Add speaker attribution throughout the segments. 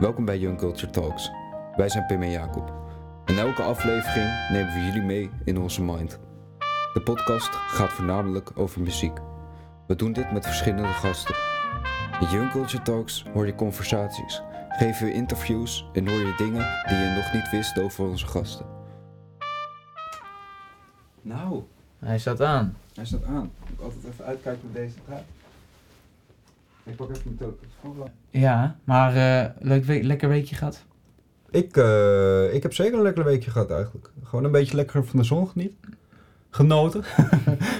Speaker 1: Welkom bij Young Culture Talks. Wij zijn Pim en Jacob. In elke aflevering nemen we jullie mee in onze mind. De podcast gaat voornamelijk over muziek. We doen dit met verschillende gasten. In Young Culture Talks hoor je conversaties, geven we interviews en hoor je dingen die je nog niet wist over onze gasten. Nou,
Speaker 2: Hij staat aan.
Speaker 1: hij staat aan. Ik moet altijd even uitkijken hoe deze gaat. Ik pak even mijn telefoon.
Speaker 2: Ja, maar eh, leuk week, lekker weekje gehad.
Speaker 3: Ik, eh, ik heb zeker een lekker weekje gehad eigenlijk. Gewoon een beetje lekker van de zon genieten. Genoten.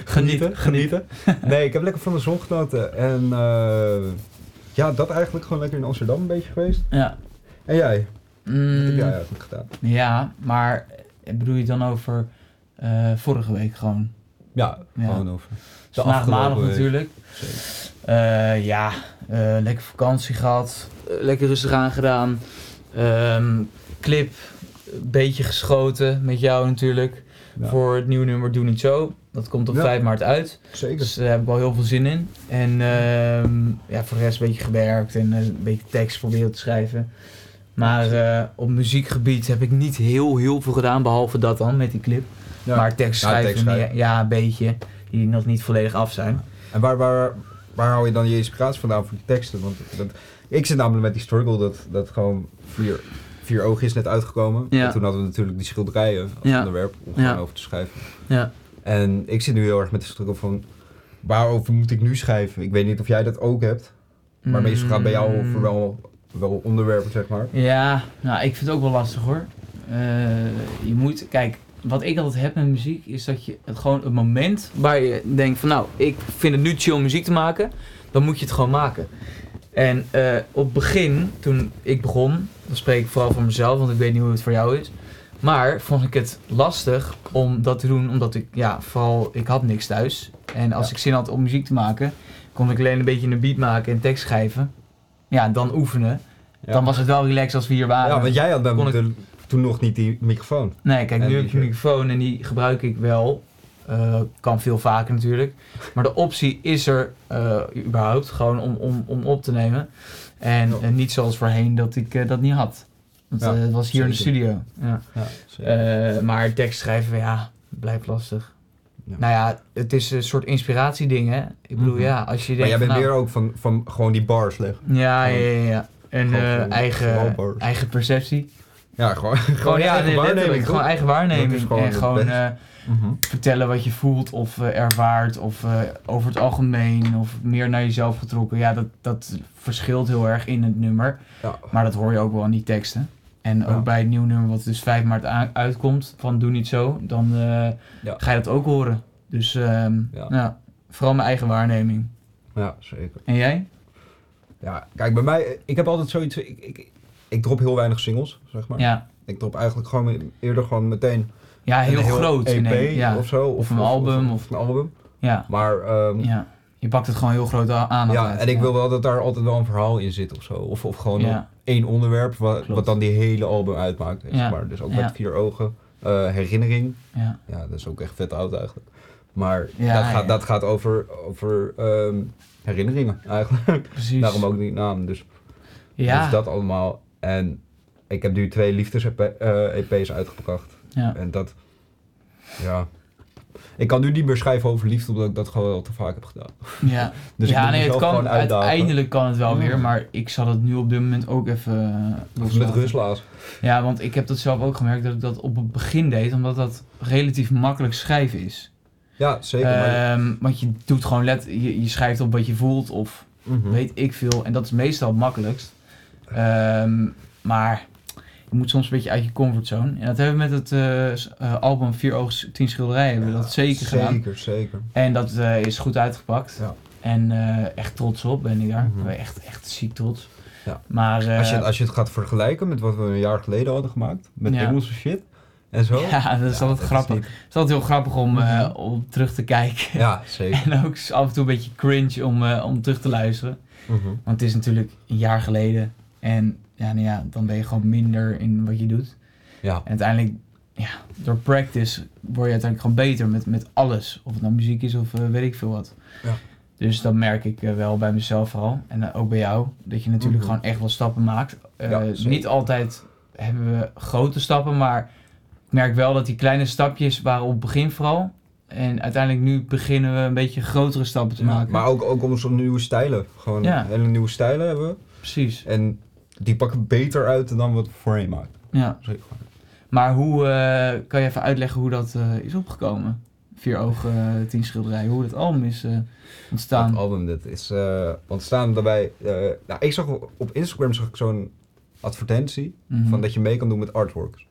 Speaker 2: Genieten,
Speaker 3: Genieten. Nee, ik heb lekker van de zon genoten. En eh, ja, dat eigenlijk gewoon lekker in Amsterdam een beetje geweest.
Speaker 2: Ja.
Speaker 3: En jij? Wat heb
Speaker 2: Mm,
Speaker 3: jij eigenlijk gedaan?
Speaker 2: ja, maar eh, bedoel je het dan over eh, vorige week gewoon?
Speaker 3: Ja,
Speaker 2: Ja.
Speaker 3: gewoon over.
Speaker 2: Dus Vandaag
Speaker 3: afgelopen
Speaker 2: maandag
Speaker 3: week.
Speaker 2: natuurlijk.
Speaker 3: Zeker.
Speaker 2: Eh, ja, eh, lekker vakantie gehad. eh, lekker rustig aangedaan. Ehm, clip, een beetje geschoten met jou natuurlijk.
Speaker 3: Ja.
Speaker 2: Voor het nieuwe nummer Doe Niet Zo. Dat komt op
Speaker 3: Ja.
Speaker 2: 5 maart uit.
Speaker 3: Zeker.
Speaker 2: Dus daar heb ik wel heel veel zin in. En ehm, ja, voor de rest een beetje gewerkt en eh, een beetje tekst proberen te schrijven. Maar eh, op muziekgebied heb ik niet heel, heel veel gedaan, behalve dat dan met die clip.
Speaker 3: Ja.
Speaker 2: Maar tekst
Speaker 3: Ja,
Speaker 2: schrijven,
Speaker 3: tekst schrijven.
Speaker 2: meer- ja, een beetje. Die nog niet volledig af zijn.
Speaker 3: En waar, waar, waar hou je dan je inspiratie vandaan voor die teksten? Want dat, ik zit namelijk met die struggle dat, dat gewoon vier, vier ogen is net uitgekomen.
Speaker 2: Ja.
Speaker 3: En toen hadden we natuurlijk die schilderijen als
Speaker 2: Ja.
Speaker 3: onderwerp om
Speaker 2: Ja.
Speaker 3: gewoon over te schrijven.
Speaker 2: Ja.
Speaker 3: En ik zit nu heel erg met de struggle van waarover moet ik nu schrijven? Ik weet niet of jij dat ook hebt, maar meestal
Speaker 2: Mm.
Speaker 3: gaat bij jou over wel, wel onderwerpen, zeg maar.
Speaker 2: Ja, nou, ik vind het ook wel lastig hoor. Eh, je moet, kijk, wat ik altijd heb met muziek is dat je het gewoon het moment waar je denkt van nou, ik vind het nu chill om muziek te maken, dan moet je het gewoon maken. En eh, op het begin, toen ik begon, dan spreek ik vooral voor mezelf, want ik weet niet hoe het voor jou is. Maar vond ik het lastig om dat te doen, omdat ik, ja, vooral, ik had niks thuis. En als
Speaker 3: Ja.
Speaker 2: ik zin had om muziek te maken, kon ik alleen een beetje een beat maken en tekst schrijven. Ja, dan oefenen.
Speaker 3: Ja.
Speaker 2: Dan was het wel relaxed als we hier waren.
Speaker 3: ja, want jij had
Speaker 2: kon ik-
Speaker 3: natuurlijk toen nog niet die microfoon.
Speaker 2: Nee, kijk,
Speaker 3: En
Speaker 2: nu
Speaker 3: die
Speaker 2: heb ik een
Speaker 3: shirt.
Speaker 2: microfoon en die gebruik ik wel. Eh, kan veel vaker natuurlijk. Maar de optie is er eh, überhaupt gewoon om, om, om op te nemen. En
Speaker 3: Ja.
Speaker 2: eh, niet zoals voorheen dat ik eh, dat niet had. Want
Speaker 3: Ja,
Speaker 2: eh, het was hier in de
Speaker 3: zeker.
Speaker 2: studio. Ja.
Speaker 3: Ja,
Speaker 2: Eh, maar tekst schrijven, ja, blijft lastig.
Speaker 3: Ja.
Speaker 2: Nou ja, het is een soort inspiratieding, hè? Ik bedoel,
Speaker 3: Mhm.
Speaker 2: ja, als je
Speaker 3: maar jij
Speaker 2: denkt...
Speaker 3: bent
Speaker 2: van, nou,
Speaker 3: meer ook van, van gewoon die bars leggen.
Speaker 2: Ja, ja,
Speaker 3: gewoon-
Speaker 2: ja, ja. En
Speaker 3: gewoon
Speaker 2: eh,
Speaker 3: gewoon- gewoon
Speaker 2: eigen,
Speaker 3: bars.
Speaker 2: eigen perceptie.
Speaker 3: Ja, gewoon, gewoon
Speaker 2: Gewoon,
Speaker 3: je
Speaker 2: ja,
Speaker 3: eigen
Speaker 2: nee,
Speaker 3: waarneming.
Speaker 2: letterlijk,
Speaker 3: toch?
Speaker 2: Gewoon eigen waarneming.
Speaker 3: Dat is gewoon
Speaker 2: en
Speaker 3: het
Speaker 2: gewoon
Speaker 3: beste.
Speaker 2: eh,
Speaker 3: Mhm.
Speaker 2: vertellen wat je voelt of eh, ervaart of eh, over het algemeen of meer naar jezelf getrokken. Ja, dat, dat verschilt heel erg in het nummer.
Speaker 3: Ja.
Speaker 2: Maar dat hoor je ook wel in die teksten. En ook
Speaker 3: Ja.
Speaker 2: bij het nieuwe nummer wat dus 5 maart aan- uitkomt van Doe Niet Zo, dan eh,
Speaker 3: Ja.
Speaker 2: ga je dat ook horen. Dus ehm,
Speaker 3: Ja.
Speaker 2: ja, vooral mijn eigen waarneming.
Speaker 3: ja, zeker.
Speaker 2: En jij?
Speaker 3: Ja, kijk, bij mij, ik heb altijd zoiets. Ik, ik, ik drop heel weinig singles, zeg maar.
Speaker 2: Ja,
Speaker 3: Ik drop eigenlijk gewoon eerder gewoon meteen
Speaker 2: ja heel,
Speaker 3: een
Speaker 2: groot.
Speaker 3: EP
Speaker 2: in één- ja.
Speaker 3: of zo.
Speaker 2: Of een album,
Speaker 3: Of, een album.
Speaker 2: Ja.
Speaker 3: Maar ehm, ja,
Speaker 2: ja, je pakt het gewoon heel groot a- aan. altijd,
Speaker 3: en ik
Speaker 2: ja.
Speaker 3: wil wel dat daar altijd wel een verhaal in zit of zo. Of, of gewoon
Speaker 2: Ja.
Speaker 3: één onderwerp wat,
Speaker 2: Klopt.
Speaker 3: wat dan die hele album uitmaakt. Zeg
Speaker 2: Ja.
Speaker 3: maar. Dus ook
Speaker 2: Ja.
Speaker 3: met vier ogen. Eh, herinnering.
Speaker 2: Ja.
Speaker 3: Ja, dat is ook echt vet oud eigenlijk. Maar
Speaker 2: Ja,
Speaker 3: dat, gaat,
Speaker 2: ja.
Speaker 3: dat gaat over, over ehm, herinneringen eigenlijk.
Speaker 2: Precies.
Speaker 3: Daarom ook die naam. Dus
Speaker 2: Ja.
Speaker 3: Dus dat allemaal. En ik heb nu twee E liefdes-EP's eh, uitgebracht.
Speaker 2: ja.
Speaker 3: En dat, ja. Ik kan nu niet meer schrijven over liefde, omdat ik dat gewoon al te vaak heb gedaan.
Speaker 2: Ja,
Speaker 3: Dus ik
Speaker 2: ja
Speaker 3: moet
Speaker 2: nee, het
Speaker 3: mezelf
Speaker 2: kan,
Speaker 3: gewoon uitdagen.
Speaker 2: uiteindelijk kan het wel
Speaker 3: Ja.
Speaker 2: weer, maar ik zal het nu op dit moment ook even
Speaker 3: Of
Speaker 2: eh,
Speaker 3: met
Speaker 2: loslaten.
Speaker 3: Ruslaas.
Speaker 2: Ja, want ik heb dat zelf ook gemerkt dat ik dat op het begin deed, omdat dat relatief makkelijk schrijven is.
Speaker 3: Ja, zeker. maar-
Speaker 2: Ehm, want je doet gewoon let, je, je schrijft op wat je voelt of
Speaker 3: Mhm.
Speaker 2: weet ik veel, en dat is meestal het makkelijkst. Ehm, maar je moet soms een beetje uit je comfortzone. En dat hebben we met het eh, s- eh, album Vier Ogen, Tien Schilderijen, hebben we dat zeker gedaan.
Speaker 3: Zeker, zeker.
Speaker 2: En dat eh, is goed uitgepakt.
Speaker 3: Ja.
Speaker 2: En eh, echt trots op ben ik daar.
Speaker 3: Mhm.
Speaker 2: Ik ben echt, echt ziek trots.
Speaker 3: Ja.
Speaker 2: Maar, eh,
Speaker 3: Als je, als je het gaat vergelijken met wat we een jaar geleden hadden gemaakt, met
Speaker 2: Ja.
Speaker 3: Engelse shit en zo.
Speaker 2: ja, dat is
Speaker 3: Ja,
Speaker 2: altijd grappig.
Speaker 3: niet-
Speaker 2: Het is altijd heel grappig om, eh,
Speaker 3: Mhm.
Speaker 2: om terug te kijken.
Speaker 3: Ja, zeker.
Speaker 2: En ook af en toe een beetje cringe om, eh, om terug te luisteren.
Speaker 3: Mhm.
Speaker 2: Want het is natuurlijk een jaar geleden. En ja, nou ja, dan ben je gewoon minder in wat je doet.
Speaker 3: Ja,
Speaker 2: En uiteindelijk, ja, door practice word je uiteindelijk gewoon beter met, met alles. Of het nou muziek is of eh, weet ik veel wat.
Speaker 3: Ja.
Speaker 2: Dus dat merk ik eh, wel bij mezelf al. En eh, ook bij jou. Dat je natuurlijk
Speaker 3: Mhm.
Speaker 2: gewoon echt wel stappen maakt. Eh,
Speaker 3: Ja, zeker.
Speaker 2: niet altijd hebben we grote stappen. Maar ik merk wel dat die kleine stapjes waren op het begin vooral. En uiteindelijk nu beginnen we een beetje grotere stappen te maken.
Speaker 3: Maar ook, ook om zo'n nieuwe stijlen. Gewoon
Speaker 2: Ja.
Speaker 3: hele nieuwe stijlen hebben. we.
Speaker 2: Precies.
Speaker 3: En die pakken beter uit dan wat we voorheen maakten.
Speaker 2: Ja.
Speaker 3: Zeg maar.
Speaker 2: Maar hoe eh, kan je even uitleggen hoe dat eh, is opgekomen? Vier ogen, eh, tien schilderijen, hoe dat album is eh, ontstaan.
Speaker 3: Dat album, dat is eh, ontstaan daarbij... eh, nou, ik zag op- op Instagram zag ik zo'n advertentie
Speaker 2: Mhm.
Speaker 3: van dat je mee kan doen met artworks.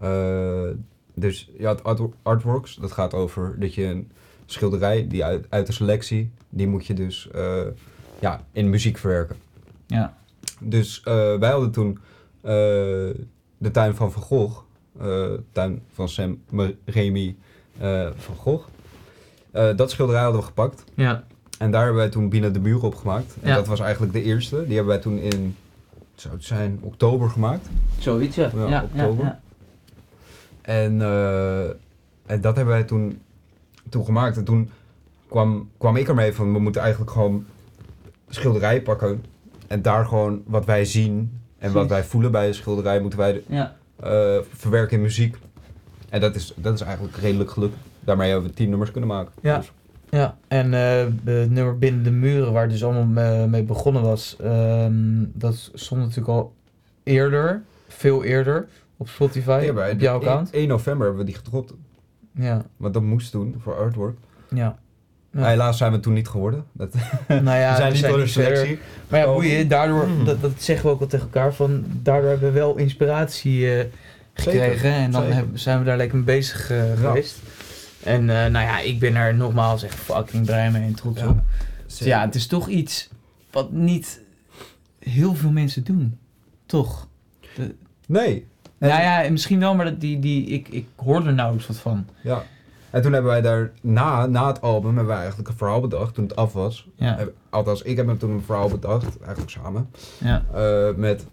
Speaker 3: Eh, dus ja, het artwo- artworks, dat gaat over dat je een schilderij die uit, uit de selectie, die moet je dus eh, ja, in muziek verwerken.
Speaker 2: Ja.
Speaker 3: Dus eh, wij hadden toen eh, de tuin van Van Gogh, eh, tuin van Sam M- Remy eh, van Gogh. Eh, dat schilderij hadden we gepakt
Speaker 2: Ja.
Speaker 3: en daar hebben wij toen Binnen de Muren op gemaakt. En
Speaker 2: Ja.
Speaker 3: dat was eigenlijk de eerste. Die hebben wij toen in, zou het zijn, oktober gemaakt.
Speaker 2: Zoiets, ja.
Speaker 3: Ja, oktober. En, eh, en dat hebben wij toen, toen gemaakt. En toen kwam, kwam ik ermee van, we moeten eigenlijk gewoon schilderijen pakken. En daar gewoon wat wij zien en wat
Speaker 2: Precies.
Speaker 3: wij voelen bij een schilderij, moeten wij
Speaker 2: ja.
Speaker 3: eh, verwerken in muziek. En dat is, dat is eigenlijk redelijk gelukt. Daarmee hebben we tien nummers kunnen maken.
Speaker 4: Ja.
Speaker 3: Dus,
Speaker 4: Ja, en eh, het nummer Binnen de Muren, waar dus allemaal me- mee begonnen was, ehm, dat stond natuurlijk al eerder, veel eerder, op Spotify,
Speaker 3: ja, bij
Speaker 4: op
Speaker 3: de
Speaker 4: jouw
Speaker 3: één-
Speaker 4: account.
Speaker 3: 1 november hebben we die gedropt.
Speaker 4: Ja,
Speaker 3: Want dat moest toen voor artwork.
Speaker 4: ja. Ja.
Speaker 3: Helaas zijn we toen niet geworden. Dat,
Speaker 4: Nou ja,
Speaker 3: we zijn
Speaker 4: we
Speaker 3: niet door de
Speaker 4: verder.
Speaker 3: selectie.
Speaker 4: Maar ja,
Speaker 3: Oh.
Speaker 4: boeien, daardoor,
Speaker 3: Mm.
Speaker 4: dat, dat zeggen we ook wel tegen elkaar, van daardoor hebben we wel inspiratie eh, gekregen. en dan
Speaker 3: zeker.
Speaker 4: heb- zijn we daar lekker mee bezig eh,
Speaker 3: Ja.
Speaker 4: geweest. En eh, nou ja, ik ben er nogmaals echt fucking blij mee en trots
Speaker 3: Ja,
Speaker 4: op. Dus ja, het is toch iets wat niet heel veel mensen doen. Toch?
Speaker 3: Nee. En-
Speaker 2: Nou ja, misschien wel, maar dat die, die, ik, ik hoor er nauwelijks wat van.
Speaker 3: Ja. En toen hebben wij daarna, na het album, hebben wij eigenlijk een verhaal bedacht toen het af was.
Speaker 2: Ja,
Speaker 3: Heb- Althans, ik heb hem toen een verhaal bedacht, eigenlijk samen.
Speaker 2: ja,
Speaker 3: eh, met,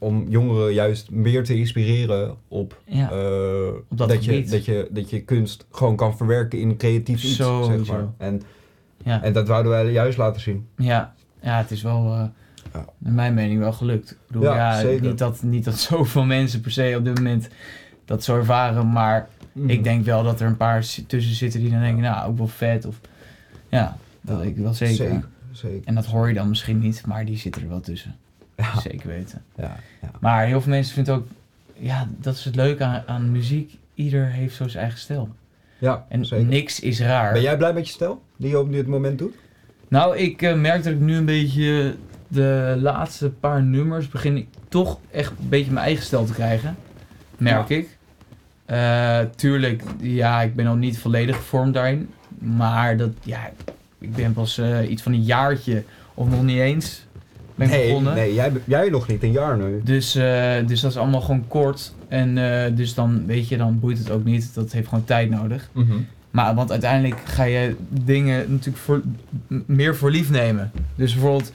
Speaker 3: om jongeren juist meer te inspireren op,
Speaker 2: ja.
Speaker 3: eh,
Speaker 2: Op dat
Speaker 3: je,
Speaker 2: gebied.
Speaker 3: dat, je, dat je kunst gewoon kan verwerken in creatief iets.
Speaker 2: Zo,
Speaker 3: zeg
Speaker 2: zo.
Speaker 3: maar. en,
Speaker 2: Ja,
Speaker 3: en dat wouden wij juist laten zien.
Speaker 2: ja. ja het is wel, eh,
Speaker 3: Ja.
Speaker 2: naar mijn mening, wel gelukt. Ik bedoel,
Speaker 3: Ja,
Speaker 2: ja,
Speaker 3: zeker.
Speaker 2: niet, dat, niet dat zoveel mensen per se op dit moment dat zo ervaren, maar Mm.
Speaker 3: Mhm.
Speaker 2: Ik denk wel dat er een paar zi- tussen zitten die dan denken, nou, ook wel vet. Of, ja, dat
Speaker 3: Ja,
Speaker 2: weet ik wel zeker.
Speaker 3: Zeker. zeker.
Speaker 2: En dat hoor je dan misschien niet, maar die zitten er wel tussen.
Speaker 3: Ja.
Speaker 2: Zeker weten.
Speaker 3: Ja, ja.
Speaker 2: Maar heel veel mensen vinden ook, ja, dat is het leuke aan, aan muziek. Ieder heeft zo zijn eigen stijl.
Speaker 3: ja
Speaker 2: En
Speaker 3: zeker.
Speaker 2: niks is raar.
Speaker 3: Ben jij blij met je stijl die je op dit moment doet?
Speaker 2: Nou, ik eh, merk dat ik nu een beetje de laatste paar nummers begin ik toch echt een beetje mijn eigen stijl te krijgen. Merk ik. Eh, tuurlijk, ja, ik ben nog niet volledig gevormd daarin. Maar dat, ja, ik ben pas eh, iets van een jaartje of nog niet eens ben ik
Speaker 3: nee,
Speaker 2: begonnen.
Speaker 3: nee jij, jij nog niet, een jaar nu.
Speaker 2: Dus, eh, dus dat is allemaal gewoon kort. En eh, dus dan, weet je, dan boeit het ook niet. Dat heeft gewoon tijd nodig. Maar want uiteindelijk ga je dingen natuurlijk voor, m- meer voor lief nemen. Dus bijvoorbeeld,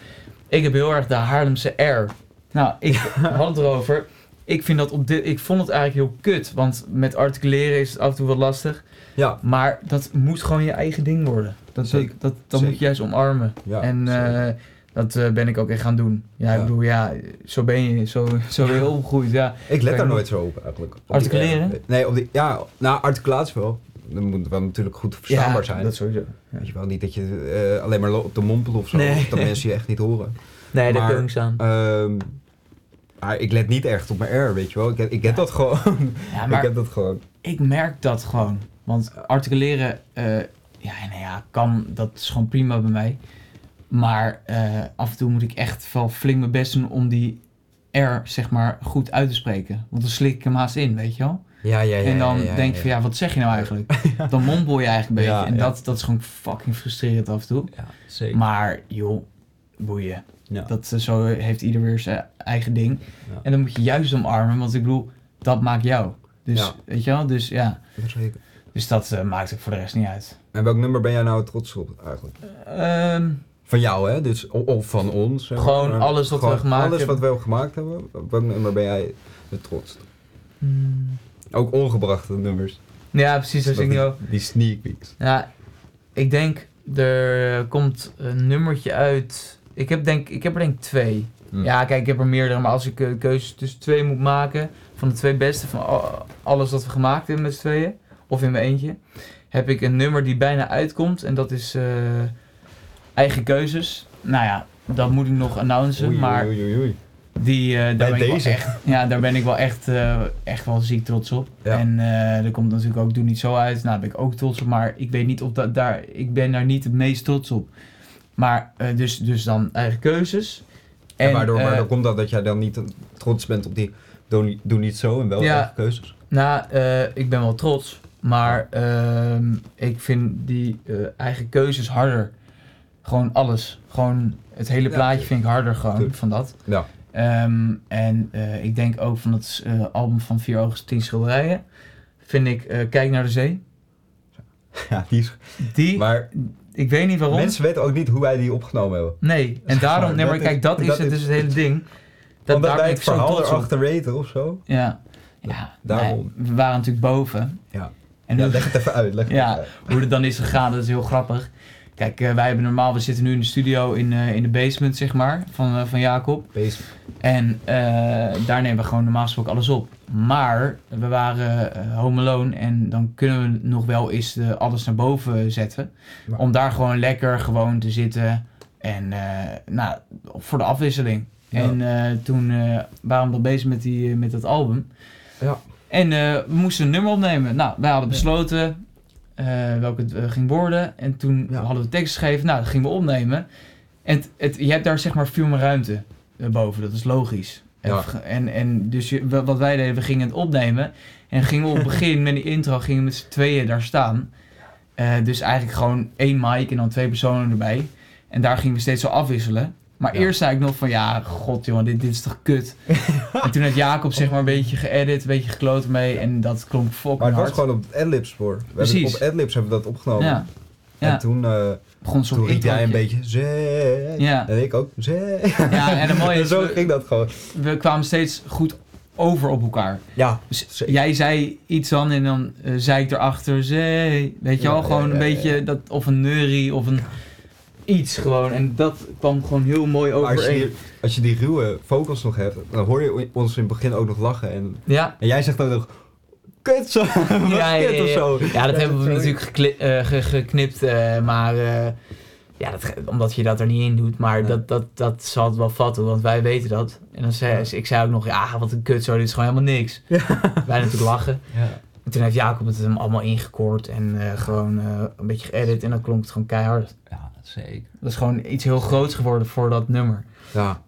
Speaker 2: ik heb heel erg de Haarlemse R. Nou, ik had het erover. Ik, vind dat op dit, ik vond het eigenlijk heel kut. Want met articuleren is het af en toe wat lastig.
Speaker 3: Ja,
Speaker 2: Maar dat moet gewoon je eigen ding worden. Dat,
Speaker 3: Zeker.
Speaker 2: dat, dat, dat
Speaker 3: Zeker.
Speaker 2: moet je juist omarmen.
Speaker 3: ja.
Speaker 2: en eh,
Speaker 3: zeker.
Speaker 2: dat eh, ben ik ook echt gaan doen. Ja,
Speaker 3: Ja.
Speaker 2: ik bedoel, ja, zo ben je. Zo, zo ben je opgegroeid. Ja,
Speaker 3: Ik let
Speaker 2: Kijk,
Speaker 3: daar
Speaker 2: moet-
Speaker 3: nooit zo op eigenlijk. Op die
Speaker 2: Articuleren?
Speaker 3: R. nee, op die, ja, nou, articulatie wel. Dan moet het wel natuurlijk goed verstaanbaar
Speaker 4: Ja,
Speaker 3: zijn.
Speaker 4: Dat sowieso.
Speaker 3: Weet je wel, niet dat je eh, alleen maar lo- op de mompel of zo,
Speaker 4: Nee.
Speaker 3: of dat mensen je echt niet horen.
Speaker 4: Nee, daar
Speaker 3: Maar-
Speaker 4: kun je niks aan.
Speaker 3: Ehm, maar ik let niet echt op mijn R, weet je wel. Ik, ik heb dat gewoon.
Speaker 2: ja
Speaker 3: ik heb dat gewoon.
Speaker 2: ik merk dat gewoon. Want articuleren, eh, ja, nou ja, kan, dat is gewoon prima bij mij. Maar eh, af en toe moet ik echt wel flink mijn best doen om die R, zeg maar, goed uit te spreken. Want dan slik ik hem haast in, weet je wel.
Speaker 3: Ja, ja, ja.
Speaker 2: en dan
Speaker 3: ja, ja,
Speaker 2: denk
Speaker 3: ja.
Speaker 2: je van, ja, wat zeg je nou eigenlijk? Dan mompel je eigenlijk een beetje.
Speaker 3: Ja,
Speaker 2: en
Speaker 3: ja.
Speaker 2: dat, dat is gewoon fucking frustrerend af en toe.
Speaker 3: Ja, zeker.
Speaker 2: Maar, joh, boeien.
Speaker 3: ja.
Speaker 2: Dat, eh, zo heeft ieder weer zijn eigen ding.
Speaker 3: Ja.
Speaker 2: En dan moet je juist omarmen, want ik bedoel, dat maakt jou. Dus,
Speaker 3: Ja.
Speaker 2: weet je wel, dus ja.
Speaker 3: dat zeker.
Speaker 2: Dus dat eh, maakt het voor de rest niet uit.
Speaker 3: En welk nummer ben jij nou trots op eigenlijk?
Speaker 2: Ehm,
Speaker 3: Van jou, hè? Dus, o- of van ons. zeg maar.
Speaker 2: Gewoon
Speaker 3: Maar
Speaker 2: alles wat we
Speaker 3: gewoon
Speaker 2: gemaakt
Speaker 3: Alles
Speaker 2: hebben.
Speaker 3: wat we hebben gemaakt hebben. Op welk nummer ben jij het trots? Ook ongebrachte nummers.
Speaker 2: ja, precies, dat
Speaker 3: Dat
Speaker 2: Dus ik niet
Speaker 3: die-
Speaker 2: ook.
Speaker 3: Die sneak peeks.
Speaker 2: Ja, ik denk Er komt een nummertje uit. Ik heb, denk, ik heb er denk ik twee.
Speaker 3: Hmm.
Speaker 2: Ja, kijk, ik heb er meerdere. Maar als ik eh, keuzes tussen twee moet maken... van de twee beste van al- alles wat we gemaakt hebben met z'n tweeën... of in mijn eentje... heb ik een nummer die bijna uitkomt. En dat is eh, eigen keuzes. Nou ja, dat moet ik nog announcen.
Speaker 3: Oei,
Speaker 2: dus maar
Speaker 3: oei, oei, oei.
Speaker 2: die, eh, daar,
Speaker 3: Bij
Speaker 2: ben ik wel
Speaker 3: deze.
Speaker 2: echt, ja, daar ben ik wel echt, eh, echt wel ziek trots op.
Speaker 3: Ja.
Speaker 2: En eh, er komt natuurlijk ook Doe Niet Zo uit. Nou, daar ben ik ook trots op. Maar ik weet niet of dat daar... Ik ben daar niet het meest trots op. Maar eh, dus, dus dan eigen keuzes.
Speaker 3: En, waardoor,
Speaker 2: eh,
Speaker 3: waardoor komt dat dat jij dan niet trots bent op die doe, doe niet zo en wel
Speaker 2: Ja.
Speaker 3: eigen keuzes?
Speaker 2: Nou, eh, ik ben wel trots. Maar ehm, ik vind die eh, eigen keuzes harder. Gewoon alles. Gewoon het hele
Speaker 3: Ja,
Speaker 2: plaatje vind ik harder gewoon
Speaker 3: tuurlijk.
Speaker 2: van dat.
Speaker 3: Ja.
Speaker 2: Ehm, en eh, ik denk ook van het eh, album van Vier Ogen, Tien Schilderijen. Vind ik eh, Kijk naar de Zee.
Speaker 3: Ja, die is...
Speaker 2: Die,
Speaker 3: Maar
Speaker 2: ik weet niet waarom.
Speaker 3: mensen weten ook niet hoe wij die opgenomen hebben.
Speaker 2: Nee, en
Speaker 3: Zeg
Speaker 2: daarom,
Speaker 3: maar,
Speaker 2: nee maar
Speaker 3: dat
Speaker 2: kijk,
Speaker 3: is-
Speaker 2: dat is
Speaker 3: dat
Speaker 2: het,
Speaker 3: is-
Speaker 2: dus het hele ding. Dat,
Speaker 3: Omdat
Speaker 2: daar ben
Speaker 3: wij
Speaker 2: ik
Speaker 3: het
Speaker 2: zo
Speaker 3: verhaal
Speaker 2: trots op.
Speaker 3: erachter weten of zo.
Speaker 2: Ja, ja
Speaker 3: Daarom.
Speaker 2: nee, we waren natuurlijk boven.
Speaker 3: Ja.
Speaker 2: En
Speaker 3: Ja,
Speaker 2: hoe-
Speaker 3: leg het even uit. Leg het
Speaker 2: Ja.
Speaker 3: even uit.
Speaker 2: hoe het dan is gegaan, dat is heel grappig. Kijk, eh, wij hebben normaal, we zitten nu in de studio in, eh, in de basement, zeg maar, van, eh, van Jacob.
Speaker 3: Bezig.
Speaker 2: En eh, daar nemen we gewoon normaal gesproken alles op. Maar we waren eh, home alone en dan kunnen we nog wel eens eh, alles naar boven zetten.
Speaker 3: Maar-
Speaker 2: Om daar gewoon lekker gewoon te zitten en eh, nou, voor de afwisseling.
Speaker 3: Ja.
Speaker 2: En eh, toen eh, waren we al bezig met, die, eh, met dat album.
Speaker 3: Ja.
Speaker 2: En eh, we moesten een nummer opnemen. Nou, wij hadden
Speaker 3: Ja.
Speaker 2: besloten eh, welke het eh, ging worden. En toen
Speaker 3: Ja.
Speaker 2: hadden we tekst geschreven. Nou, dat gingen we opnemen. En het, het- je hebt daar zeg maar veel meer ruimte eh, boven. Dat is logisch.
Speaker 3: Ja.
Speaker 2: En, en, en dus je- wa- wat wij deden, we gingen het opnemen. En gingen we op het begin met die intro, gingen we met z'n tweeën daar staan. Eh, dus eigenlijk gewoon één mic en dan twee personen erbij. En daar gingen we steeds zo afwisselen. Maar
Speaker 3: Ja.
Speaker 2: eerst zei ik nog van, ja, god jongen, dit, dit is toch kut. en toen had Jacob zeg maar een beetje geëdit, een beetje gekloot mee. En dat klonk fucking
Speaker 3: Maar het was
Speaker 2: hard.
Speaker 3: gewoon op het adlibs spoor. We hebben
Speaker 2: Precies.
Speaker 3: op adlibs hebben we dat opgenomen.
Speaker 2: Ja, ja.
Speaker 3: En toen, eh
Speaker 2: begon zo'n
Speaker 3: toen riep jij een
Speaker 2: introotje.
Speaker 3: beetje zee.
Speaker 2: Ja.
Speaker 3: En ik ook zee.
Speaker 2: Ja, en het mooie
Speaker 3: En
Speaker 2: is,
Speaker 3: zo
Speaker 2: we,
Speaker 3: ging dat gewoon.
Speaker 2: we kwamen steeds goed over op elkaar.
Speaker 3: Ja.
Speaker 2: Dus
Speaker 3: Zeker.
Speaker 2: jij zei iets dan en dan eh, zei ik erachter, zee. Weet je
Speaker 3: Ja,
Speaker 2: wel,
Speaker 3: ja,
Speaker 2: gewoon
Speaker 3: ja,
Speaker 2: een
Speaker 3: ja.
Speaker 2: beetje, dat, of een neurie, of een iets gewoon. En dat kwam gewoon heel mooi
Speaker 3: Als je,
Speaker 2: overeen.
Speaker 3: die, als je die ruwe vocals nog hebt, dan hoor je ons in het begin ook nog lachen. En,
Speaker 2: Ja,
Speaker 3: en jij zegt dan nog, kut zo, wat
Speaker 2: Ja, ja,
Speaker 3: kut
Speaker 2: ja,
Speaker 3: of zo.
Speaker 2: ja dat hebben we
Speaker 3: sorry.
Speaker 2: natuurlijk gekli- eh, ge- geknipt, eh, maar eh, ja, dat, ge- omdat je dat er niet in doet. Maar
Speaker 3: Nee.
Speaker 2: dat, dat, dat zal het wel vatten, want wij weten dat. En dan zei ik zei ook nog, ja, wat een kut zo, dit is gewoon helemaal niks. Wij natuurlijk lachen.
Speaker 3: Ja.
Speaker 2: En toen heeft Jacob het hem allemaal ingekoord en eh, gewoon eh, een beetje geëdit en dan klonk het gewoon keihard.
Speaker 5: Ja, zeker.
Speaker 2: Dat is gewoon iets heel groots geworden voor dat nummer.
Speaker 3: Ja.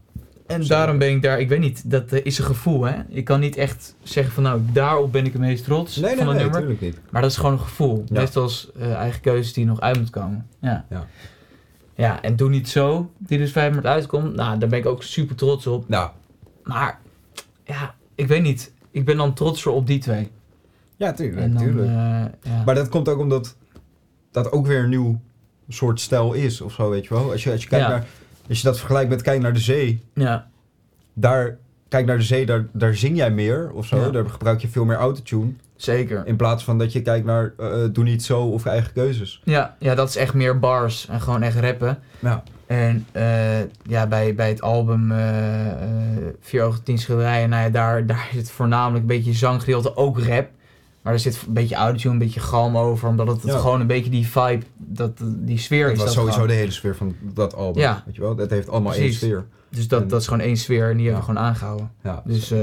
Speaker 2: En
Speaker 3: Zo.
Speaker 2: daarom ben ik daar, ik weet niet, dat eh, is een gevoel hè. Ik kan niet echt zeggen van nou, daarop ben ik het meest trots
Speaker 3: Nee, nee,
Speaker 2: van het
Speaker 3: nee,
Speaker 2: nummer.
Speaker 3: natuurlijk niet.
Speaker 2: Maar dat is gewoon een gevoel.
Speaker 3: Ja.
Speaker 2: Net als eh, eigen keuzes die nog uit moet komen. Ja.
Speaker 3: Ja.
Speaker 2: Ja, en doe niet zo, die dus 5 maart uitkomt. Nou, daar ben ik ook super trots op.
Speaker 3: Nou,
Speaker 2: Maar, ja, ik weet niet. Ik ben dan trotser op die twee.
Speaker 3: ja, tuurlijk,
Speaker 2: en dan,
Speaker 3: tuurlijk.
Speaker 2: eh, ja.
Speaker 3: Maar dat komt ook omdat dat ook weer een nieuw soort stijl is of zo, weet je wel. Als je, als je, kijkt
Speaker 2: Ja.
Speaker 3: naar, als je dat vergelijkt met Kijk naar de Zee,
Speaker 2: ja.
Speaker 3: daar, Kijk naar de Zee, daar, daar zing jij meer of zo.
Speaker 2: Ja.
Speaker 3: Daar gebruik je veel meer autotune.
Speaker 2: Zeker.
Speaker 3: In plaats van dat je kijkt naar eh, Doe Niet Zo of Eigen Keuzes.
Speaker 2: Ja, ja, dat is echt meer bars en gewoon echt rappen.
Speaker 3: Ja.
Speaker 2: En eh, ja, bij, bij het album eh, eh, Vier Ogen Tien Schilderijen, nou ja, daar, daar zit voornamelijk een beetje zanggedeelte, ook rap. Maar er zit een beetje autotune, een beetje galm over, omdat het, het
Speaker 3: Ja.
Speaker 2: gewoon een beetje die vibe, dat, die sfeer
Speaker 3: Dat
Speaker 2: is.
Speaker 3: was
Speaker 2: dat
Speaker 3: sowieso
Speaker 2: gewoon.
Speaker 3: de hele sfeer van dat album.
Speaker 2: Ja.
Speaker 3: Weet je wel? Dat heeft allemaal
Speaker 2: Precies.
Speaker 3: één sfeer.
Speaker 2: Dus dat, dat is gewoon één sfeer en die hebben we gewoon aangehouden.
Speaker 3: Ja,
Speaker 2: Dus, eh,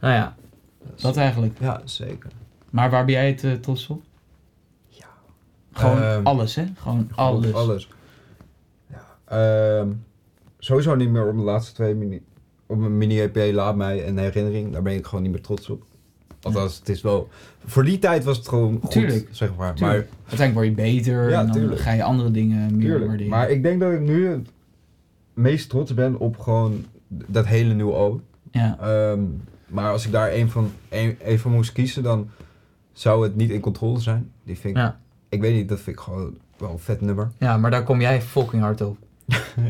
Speaker 2: nou ja, dat eigenlijk.
Speaker 3: ja zeker.
Speaker 2: Maar waar ben jij het eh, trots op?
Speaker 3: Ja.
Speaker 2: Gewoon
Speaker 3: Ehm,
Speaker 2: alles, hè? Gewoon alles.
Speaker 3: Alles. Ja. Ehm, sowieso niet meer op mijn laatste twee mini... Op mijn mini-EP Laat Mij en Herinnering. Daar ben ik gewoon niet meer trots op. Althans, het is wel... Voor die tijd was het gewoon goed,
Speaker 2: Tuurlijk.
Speaker 3: zeg maar.
Speaker 2: Tuurlijk. Uiteindelijk word je beter
Speaker 3: Ja,
Speaker 2: en dan
Speaker 3: tuurlijk.
Speaker 2: ga je andere dingen
Speaker 3: Maar,
Speaker 2: meer
Speaker 3: tuurlijk.
Speaker 2: waarderen.
Speaker 3: maar ik denk dat ik nu het meest trots ben op gewoon dat hele nieuwe album.
Speaker 2: Ja,
Speaker 3: Ehm, maar als ik daar één van, één, één van moest kiezen, dan zou het niet in controle zijn. Die vind ik,
Speaker 2: Ja.
Speaker 3: ik weet niet, dat vind ik gewoon wel een vet nummer.
Speaker 2: ja, maar daar kom jij fucking hard op.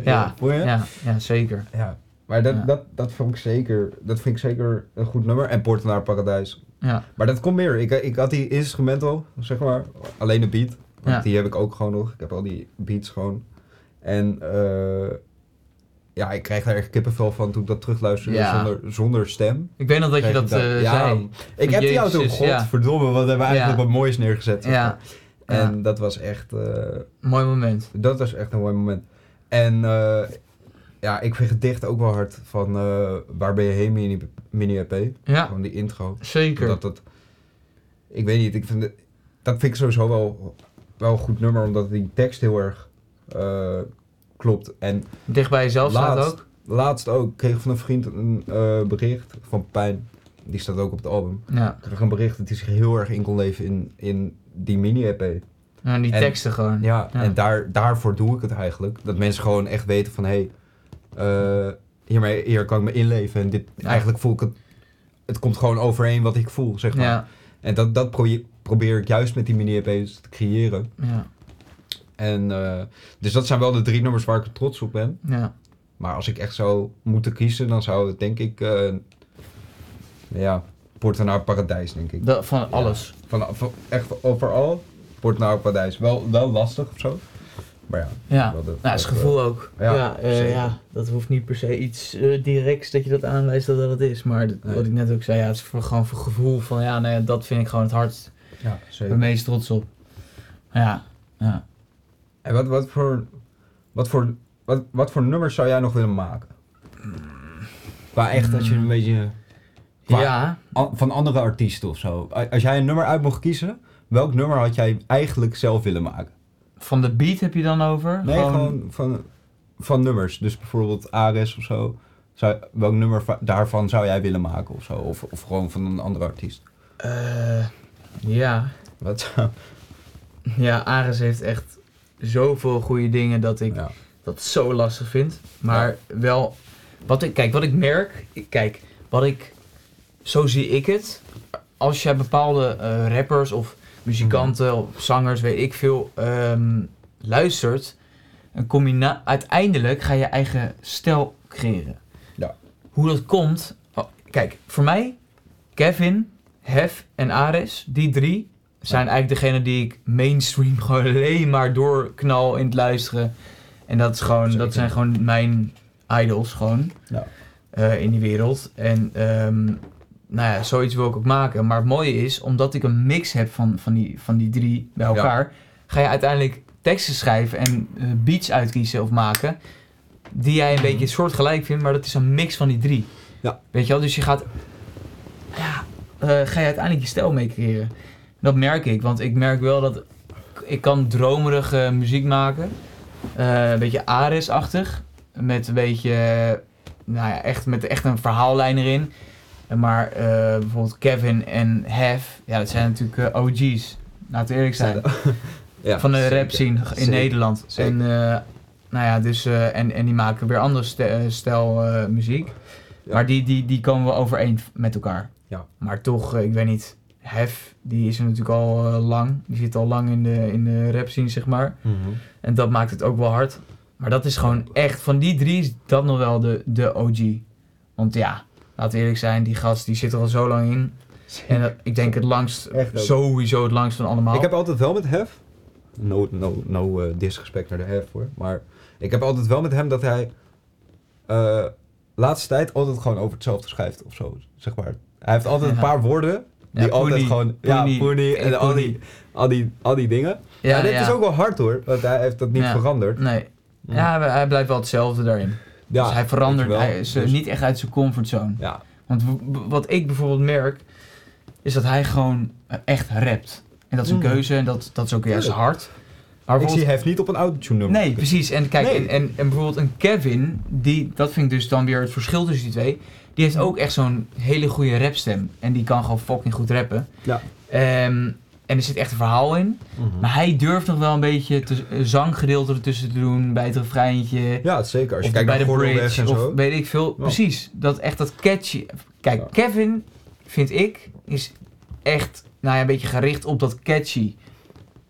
Speaker 2: Ja.
Speaker 3: Voel je?
Speaker 2: Ja, ja, zeker.
Speaker 3: Ja. Maar dat,
Speaker 2: Ja.
Speaker 3: dat, dat, vond ik zeker, dat vind ik zeker een goed nummer. En Portenaar Paradijs.
Speaker 2: Ja.
Speaker 3: Maar dat komt meer. Ik, ik had die instrumental, zeg maar, alleen de beat. Want
Speaker 6: Ja.
Speaker 3: die heb ik ook gewoon nog. Ik heb al die beats gewoon. En eh, ja, ik krijg daar echt kippenvel van toen ik dat terugluisterde
Speaker 6: Ja.
Speaker 3: zonder, zonder stem.
Speaker 6: Ik weet nog dat je
Speaker 3: Krijg ik
Speaker 6: dat eh, zei.
Speaker 3: Ik heb die
Speaker 6: Jezus,
Speaker 3: auto,
Speaker 6: ja.
Speaker 3: godverdomme, wat hebben we eigenlijk
Speaker 6: Ja.
Speaker 3: op wat moois neergezet. zeg
Speaker 6: Ja,
Speaker 3: maar. En dat was echt... eh,
Speaker 6: mooi moment.
Speaker 3: dat was echt een mooi moment. En eh, ja, ik vind gedicht ook wel hard van eh, Waar ben je heen, mini- mini-EP.
Speaker 6: Ja,
Speaker 3: Gewoon die intro.
Speaker 6: zeker.
Speaker 3: Dat dat... Ik weet niet, ik vind het- dat vind ik sowieso wel, wel een goed nummer, omdat die tekst heel erg eh, klopt. En
Speaker 6: Dicht bij jezelf staat
Speaker 3: Laatst.
Speaker 6: ook.
Speaker 3: laatst ook kreeg ik van een vriend een eh, bericht van Pijn. Die staat ook op het album.
Speaker 6: Ja,
Speaker 3: Ik kreeg een bericht dat hij zich heel erg in kon leven in, in die mini-EP.
Speaker 6: en die
Speaker 3: En-
Speaker 6: teksten gewoon.
Speaker 3: Ja,
Speaker 6: Ja.
Speaker 3: en daar, daarvoor doe ik het eigenlijk. Dat mensen gewoon echt weten van, hé, hey, eh, hiermee hier kan ik me inleven. En dit,
Speaker 6: Ja.
Speaker 3: eigenlijk voel ik het, het komt gewoon overeen wat ik voel, zeg maar.
Speaker 6: Ja,
Speaker 3: En dat, dat proje- probeer ik juist met die mini-EP's te creëren.
Speaker 6: ja,
Speaker 3: En, eh, dus dat zijn wel de drie nummers waar ik trots op ben.
Speaker 6: ja.
Speaker 3: Maar als ik echt zou moeten kiezen, dan zou het denk ik, eh, ja, Porta naar Paradijs, denk ik.
Speaker 6: Dat, van alles.
Speaker 3: Van, van- echt overal, Porta naar Paradijs. Wel, wel lastig of zo. Maar ja,
Speaker 6: Ja.
Speaker 3: wel de-
Speaker 6: Nou, is gevoel ook.
Speaker 3: Ja,
Speaker 2: Ja, eh,
Speaker 3: zeker.
Speaker 2: ja, dat hoeft niet per se iets eh, directs dat je dat aanwijst dat dat het is. Maar dat-
Speaker 3: Nee.
Speaker 2: wat ik net ook zei, ja, het is voor, gewoon voor gevoel van ja, nou ja, dat vind ik gewoon het hardst.
Speaker 3: Ja,
Speaker 2: Het
Speaker 3: zeker.
Speaker 2: meest trots op.
Speaker 6: Ja, ja.
Speaker 3: En wat, wat, voor, wat, voor, wat, wat voor nummers zou jij nog willen maken? Qua Mm. echt, als je een beetje... Qua-
Speaker 2: Ja,
Speaker 3: An- van andere artiesten of zo. A- Als jij een nummer uit mocht kiezen, welk nummer had jij eigenlijk zelf willen maken?
Speaker 6: Van de beat heb je dan over?
Speaker 3: Nee, gewoon, van, van nummers. Dus bijvoorbeeld Ares of zo. Zou, welk nummer va- daarvan zou jij willen maken of zo? Of, of gewoon van een andere artiest?
Speaker 2: eh, ja,
Speaker 3: Wat zou...
Speaker 2: ja, Ares heeft echt zoveel goede dingen dat ik
Speaker 3: Ja.
Speaker 2: dat zo lastig vind. Maar wel, wat ik, kijk, wat ik merk, ik- kijk, wat ik, zo zie ik het. Als jij bepaalde eh, rappers of muzikanten of zangers, weet ik veel, ehm, luistert, een combina- uiteindelijk ga je je eigen stijl creëren.
Speaker 3: Ja.
Speaker 2: Hoe dat komt, oh, kijk, voor mij, Kevin, Hef en Ares, die drie, zijn eigenlijk degene die ik mainstream gewoon alleen maar doorknal in het luisteren. En dat, is gewoon,
Speaker 3: Zeker.
Speaker 2: dat zijn gewoon mijn idols gewoon
Speaker 3: Ja.
Speaker 2: eh, in die wereld. En ehm, nou ja, zoiets wil ik ook maken. Maar het mooie is, omdat ik een mix heb van, van, die, van die drie bij
Speaker 3: Ja.
Speaker 2: elkaar, ga je uiteindelijk teksten schrijven en eh, beats uitkiezen of maken. Die jij een beetje soortgelijk vindt, maar dat is een mix van die drie.
Speaker 3: Ja.
Speaker 2: Weet je wel? Dus je gaat. Ja, eh, ga je uiteindelijk je stijl mee creëren. Dat merk ik, want ik merk wel dat ik kan dromerige muziek maken. Eh, een beetje Ares-achtig. Met een beetje, eh, nou ja, echt, met echt een verhaallijn erin. Eh, Maar eh, bijvoorbeeld Kevin en Hef, ja, dat zijn natuurlijk eh, OG's. Laten we eerlijk zijn.
Speaker 3: Ja,
Speaker 2: van de
Speaker 3: zeker.
Speaker 2: rap scene in
Speaker 3: Zeker.
Speaker 2: Nederland.
Speaker 3: Zeker.
Speaker 2: En, eh, nou ja, dus, eh, en, en die maken weer ander ste- eh, stijl eh, muziek.
Speaker 3: Ja.
Speaker 2: Maar die, die, die komen wel overeen f- met elkaar.
Speaker 3: Ja.
Speaker 2: Maar toch, eh, ik weet niet. Hef, die is er natuurlijk al eh, lang. Die zit al lang in de, in de rap scene, zeg maar.
Speaker 3: Mhm.
Speaker 2: En dat maakt het ook wel hard. Maar dat is gewoon echt, van die drie is dat nog wel de, de OG. Want ja, laten we eerlijk zijn, die gast die zit er al zo lang in. En dat- ik denk het langst,
Speaker 3: Echt ook.
Speaker 2: sowieso het langst van allemaal.
Speaker 3: Ik heb altijd wel met Hef. No, no, no eh, disrespect naar de Hef hoor. Maar ik heb altijd wel met hem dat hij. eh laatste tijd altijd gewoon over hetzelfde schrijft of zo. Zeg maar. Hij heeft altijd
Speaker 2: Ja.
Speaker 3: een paar woorden. Die
Speaker 2: Ja,
Speaker 3: altijd
Speaker 2: Poenie,
Speaker 3: gewoon.
Speaker 2: Poenie,
Speaker 3: ja, Poenie en
Speaker 2: eh,
Speaker 3: al
Speaker 2: Poenie.
Speaker 3: die, al, die, al die dingen. Ja, dit is ook wel hard hoor. Want hij heeft dat niet
Speaker 2: Ja.
Speaker 3: veranderd.
Speaker 2: Nee,
Speaker 3: Hm.
Speaker 2: ja, hij- hij blijft wel hetzelfde daarin.
Speaker 3: Ja,
Speaker 2: dus hij verandert
Speaker 3: weet je wel.
Speaker 2: hij is eh,
Speaker 3: Dus-
Speaker 2: niet echt uit zijn comfortzone.
Speaker 3: Ja,
Speaker 2: Want w- w- wat ik bijvoorbeeld merk, is dat hij gewoon eh, echt rapt. En dat is een
Speaker 3: Mm.
Speaker 2: keuze en dat, dat is ook juist
Speaker 3: Tuurlijk.
Speaker 2: hard. Maar
Speaker 3: ik
Speaker 2: bijvoorbeeld-
Speaker 3: zie Hef niet op een autotune nummer.
Speaker 2: Nee, precies. En kijk,
Speaker 3: Nee.
Speaker 2: en, en, en bijvoorbeeld een Kevin, die, dat vind ik dus dan weer het verschil tussen die twee. Die
Speaker 3: Hmm.
Speaker 2: heeft ook echt zo'n hele goede rapstem. En die kan gewoon fucking goed rappen.
Speaker 3: Ja.
Speaker 2: Ehm, en er zit echt een verhaal in.
Speaker 3: Mhm.
Speaker 2: Maar hij durft nog wel een beetje te, een zanggedeelte ertussen te doen. Bij het refreintje.
Speaker 3: Ja, zeker. Als je
Speaker 2: Of
Speaker 3: kijkt
Speaker 2: bij
Speaker 3: naar
Speaker 2: de
Speaker 3: Gordelweg
Speaker 2: bridge,
Speaker 3: en zo.
Speaker 2: of weet ik veel. Precies, dat echt dat catchy. Kijk,
Speaker 3: Ja.
Speaker 2: Kevin, vind ik, is echt nou ja, een beetje gericht op dat catchy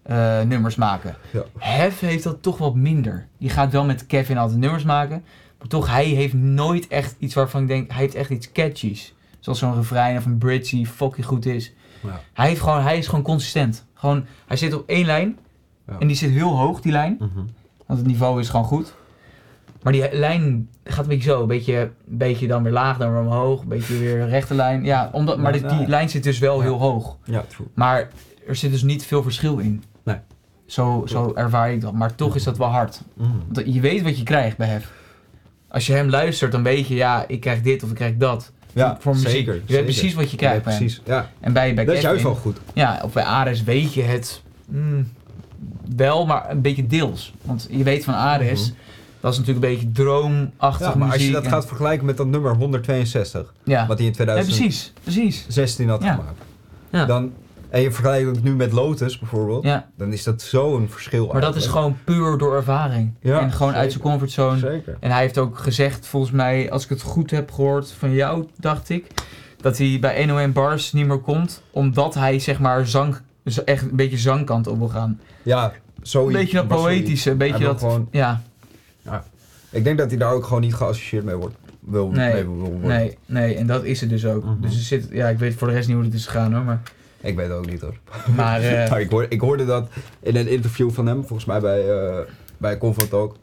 Speaker 2: eh, nummers maken.
Speaker 3: Ja.
Speaker 2: Hef heeft dat toch wat minder. Die gaat wel met Kevin altijd nummers maken. Maar toch, hij heeft nooit echt iets waarvan ik denk, hij heeft echt iets catchies. Zoals zo'n refrein of een bridge die fucking goed is.
Speaker 3: Ja.
Speaker 2: Hij, heeft gewoon, hij is gewoon consistent. Gewoon, hij zit op één lijn
Speaker 3: Ja.
Speaker 2: En die zit heel hoog, die lijn.
Speaker 3: Mhm.
Speaker 2: Want het niveau is gewoon goed. Maar die lijn gaat een beetje zo. Een beetje, beetje dan weer laag, dan weer omhoog. Een beetje weer een rechte lijn. Ja, omdat, maar dit- die,
Speaker 3: Ja.
Speaker 2: lijn zit dus wel
Speaker 3: Ja.
Speaker 2: heel hoog.
Speaker 3: Ja, true.
Speaker 2: Maar er zit dus niet veel verschil in.
Speaker 3: Nee.
Speaker 2: Zo, zo ervaar ik dat. Maar toch is dat wel hard.
Speaker 3: Mhm.
Speaker 2: Want je weet wat je krijgt bij hem. Als je hem luistert, dan weet je, ja, ik krijg dit of ik krijg dat.
Speaker 3: Ja,
Speaker 2: voor muziek.
Speaker 3: zeker.
Speaker 2: Je
Speaker 3: zeker.
Speaker 2: weet precies wat
Speaker 3: Ja,
Speaker 2: je krijgt bij hem.
Speaker 3: precies. Ja,
Speaker 2: En bij, bij
Speaker 3: dat is juist
Speaker 2: Kevin-
Speaker 3: wel goed.
Speaker 2: ja, of bij Ares weet je het mm, wel, maar een beetje deels. Want je weet van Ares, dat is natuurlijk een beetje droomachtig
Speaker 3: Mhm. Ja, maar als je
Speaker 2: muziek
Speaker 3: dat
Speaker 2: en-
Speaker 3: gaat vergelijken met dat nummer 162,
Speaker 2: Ja,
Speaker 3: wat hij in
Speaker 2: Ja,
Speaker 3: 2016
Speaker 2: precies, precies.
Speaker 3: had
Speaker 2: Ja.
Speaker 3: gemaakt.
Speaker 2: Ja.
Speaker 3: Dan, en je vergelijkt het nu met Lotus bijvoorbeeld,
Speaker 2: Ja,
Speaker 3: dan is dat zo'n verschil
Speaker 2: maar dat is
Speaker 3: eigenlijk.
Speaker 2: gewoon puur door ervaring.
Speaker 3: Ja,
Speaker 2: en gewoon uit zijn
Speaker 3: zeker.
Speaker 2: comfortzone.
Speaker 3: Zeker.
Speaker 2: En hij heeft ook gezegd, volgens mij, als ik het goed heb gehoord van jou, dacht ik, dat hij bij NOM Bars niet meer komt, omdat hij zeg maar zang, z- echt een beetje zangkant op wil gaan.
Speaker 3: Ja,
Speaker 2: Een
Speaker 3: zoiets.
Speaker 2: beetje dat
Speaker 3: maar zoiets.
Speaker 2: poëtische, een beetje
Speaker 3: Hij wil
Speaker 2: dat,
Speaker 3: gewoon-
Speaker 2: ja.
Speaker 3: Ik denk dat hij daar ook gewoon niet geassocieerd mee wordt. Wil,
Speaker 2: Nee,
Speaker 3: mee wil worden.
Speaker 2: Nee, nee, en dat is het dus ook.
Speaker 3: Mhm.
Speaker 2: Dus er zit, ja, ik weet voor de rest niet hoe het is gegaan hoor, maar...
Speaker 3: Ik weet het ook niet hoor.
Speaker 2: maar eh,
Speaker 3: Maar ik, hoorde, ik hoorde dat in een interview van hem, volgens mij bij, eh bij Confront ook.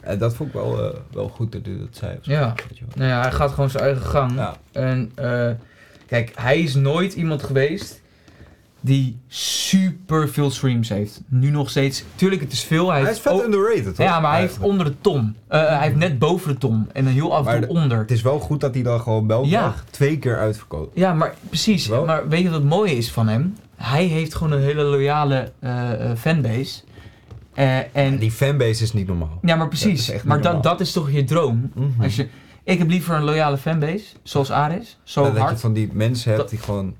Speaker 3: En dat vond ik wel, eh, wel goed dat hij dat zei. of zo,
Speaker 2: Ja.
Speaker 3: weet je wel.
Speaker 2: nou ja, hij gaat gewoon zijn eigen gang.
Speaker 3: Ja.
Speaker 2: En eh, kijk, hij is nooit iemand geweest die super veel streams heeft. Nu nog steeds. Tuurlijk, het is veel. Hij,
Speaker 3: Hij is
Speaker 2: heeft
Speaker 3: vet
Speaker 2: ook-
Speaker 3: underrated hoor.
Speaker 2: Ja, maar hij heeft
Speaker 3: Eigenlijk.
Speaker 2: onder de tom. Eh, hij heeft net boven de tom en dan heel af en
Speaker 3: Maar
Speaker 2: toe onder.
Speaker 3: Het is wel goed dat hij dan gewoon België
Speaker 2: Ja.
Speaker 3: twee keer uitverkoopt.
Speaker 2: Ja, maar precies.
Speaker 3: Wel.
Speaker 2: Maar weet je wat het mooie is van hem? Hij heeft gewoon een hele loyale eh, eh, fanbase. Eh, en
Speaker 3: En die fanbase is niet normaal.
Speaker 2: Ja, maar
Speaker 3: Dat
Speaker 2: precies.
Speaker 3: is echt
Speaker 2: maar
Speaker 3: niet
Speaker 2: dat,
Speaker 3: normaal.
Speaker 2: dat is toch je droom?
Speaker 3: Mhm.
Speaker 2: Hm. Als je, ik heb liever een loyale fanbase, zoals Aris, zo
Speaker 3: dat dat je
Speaker 2: hard,
Speaker 3: van die mensen hebt
Speaker 2: Dat-
Speaker 3: die gewoon...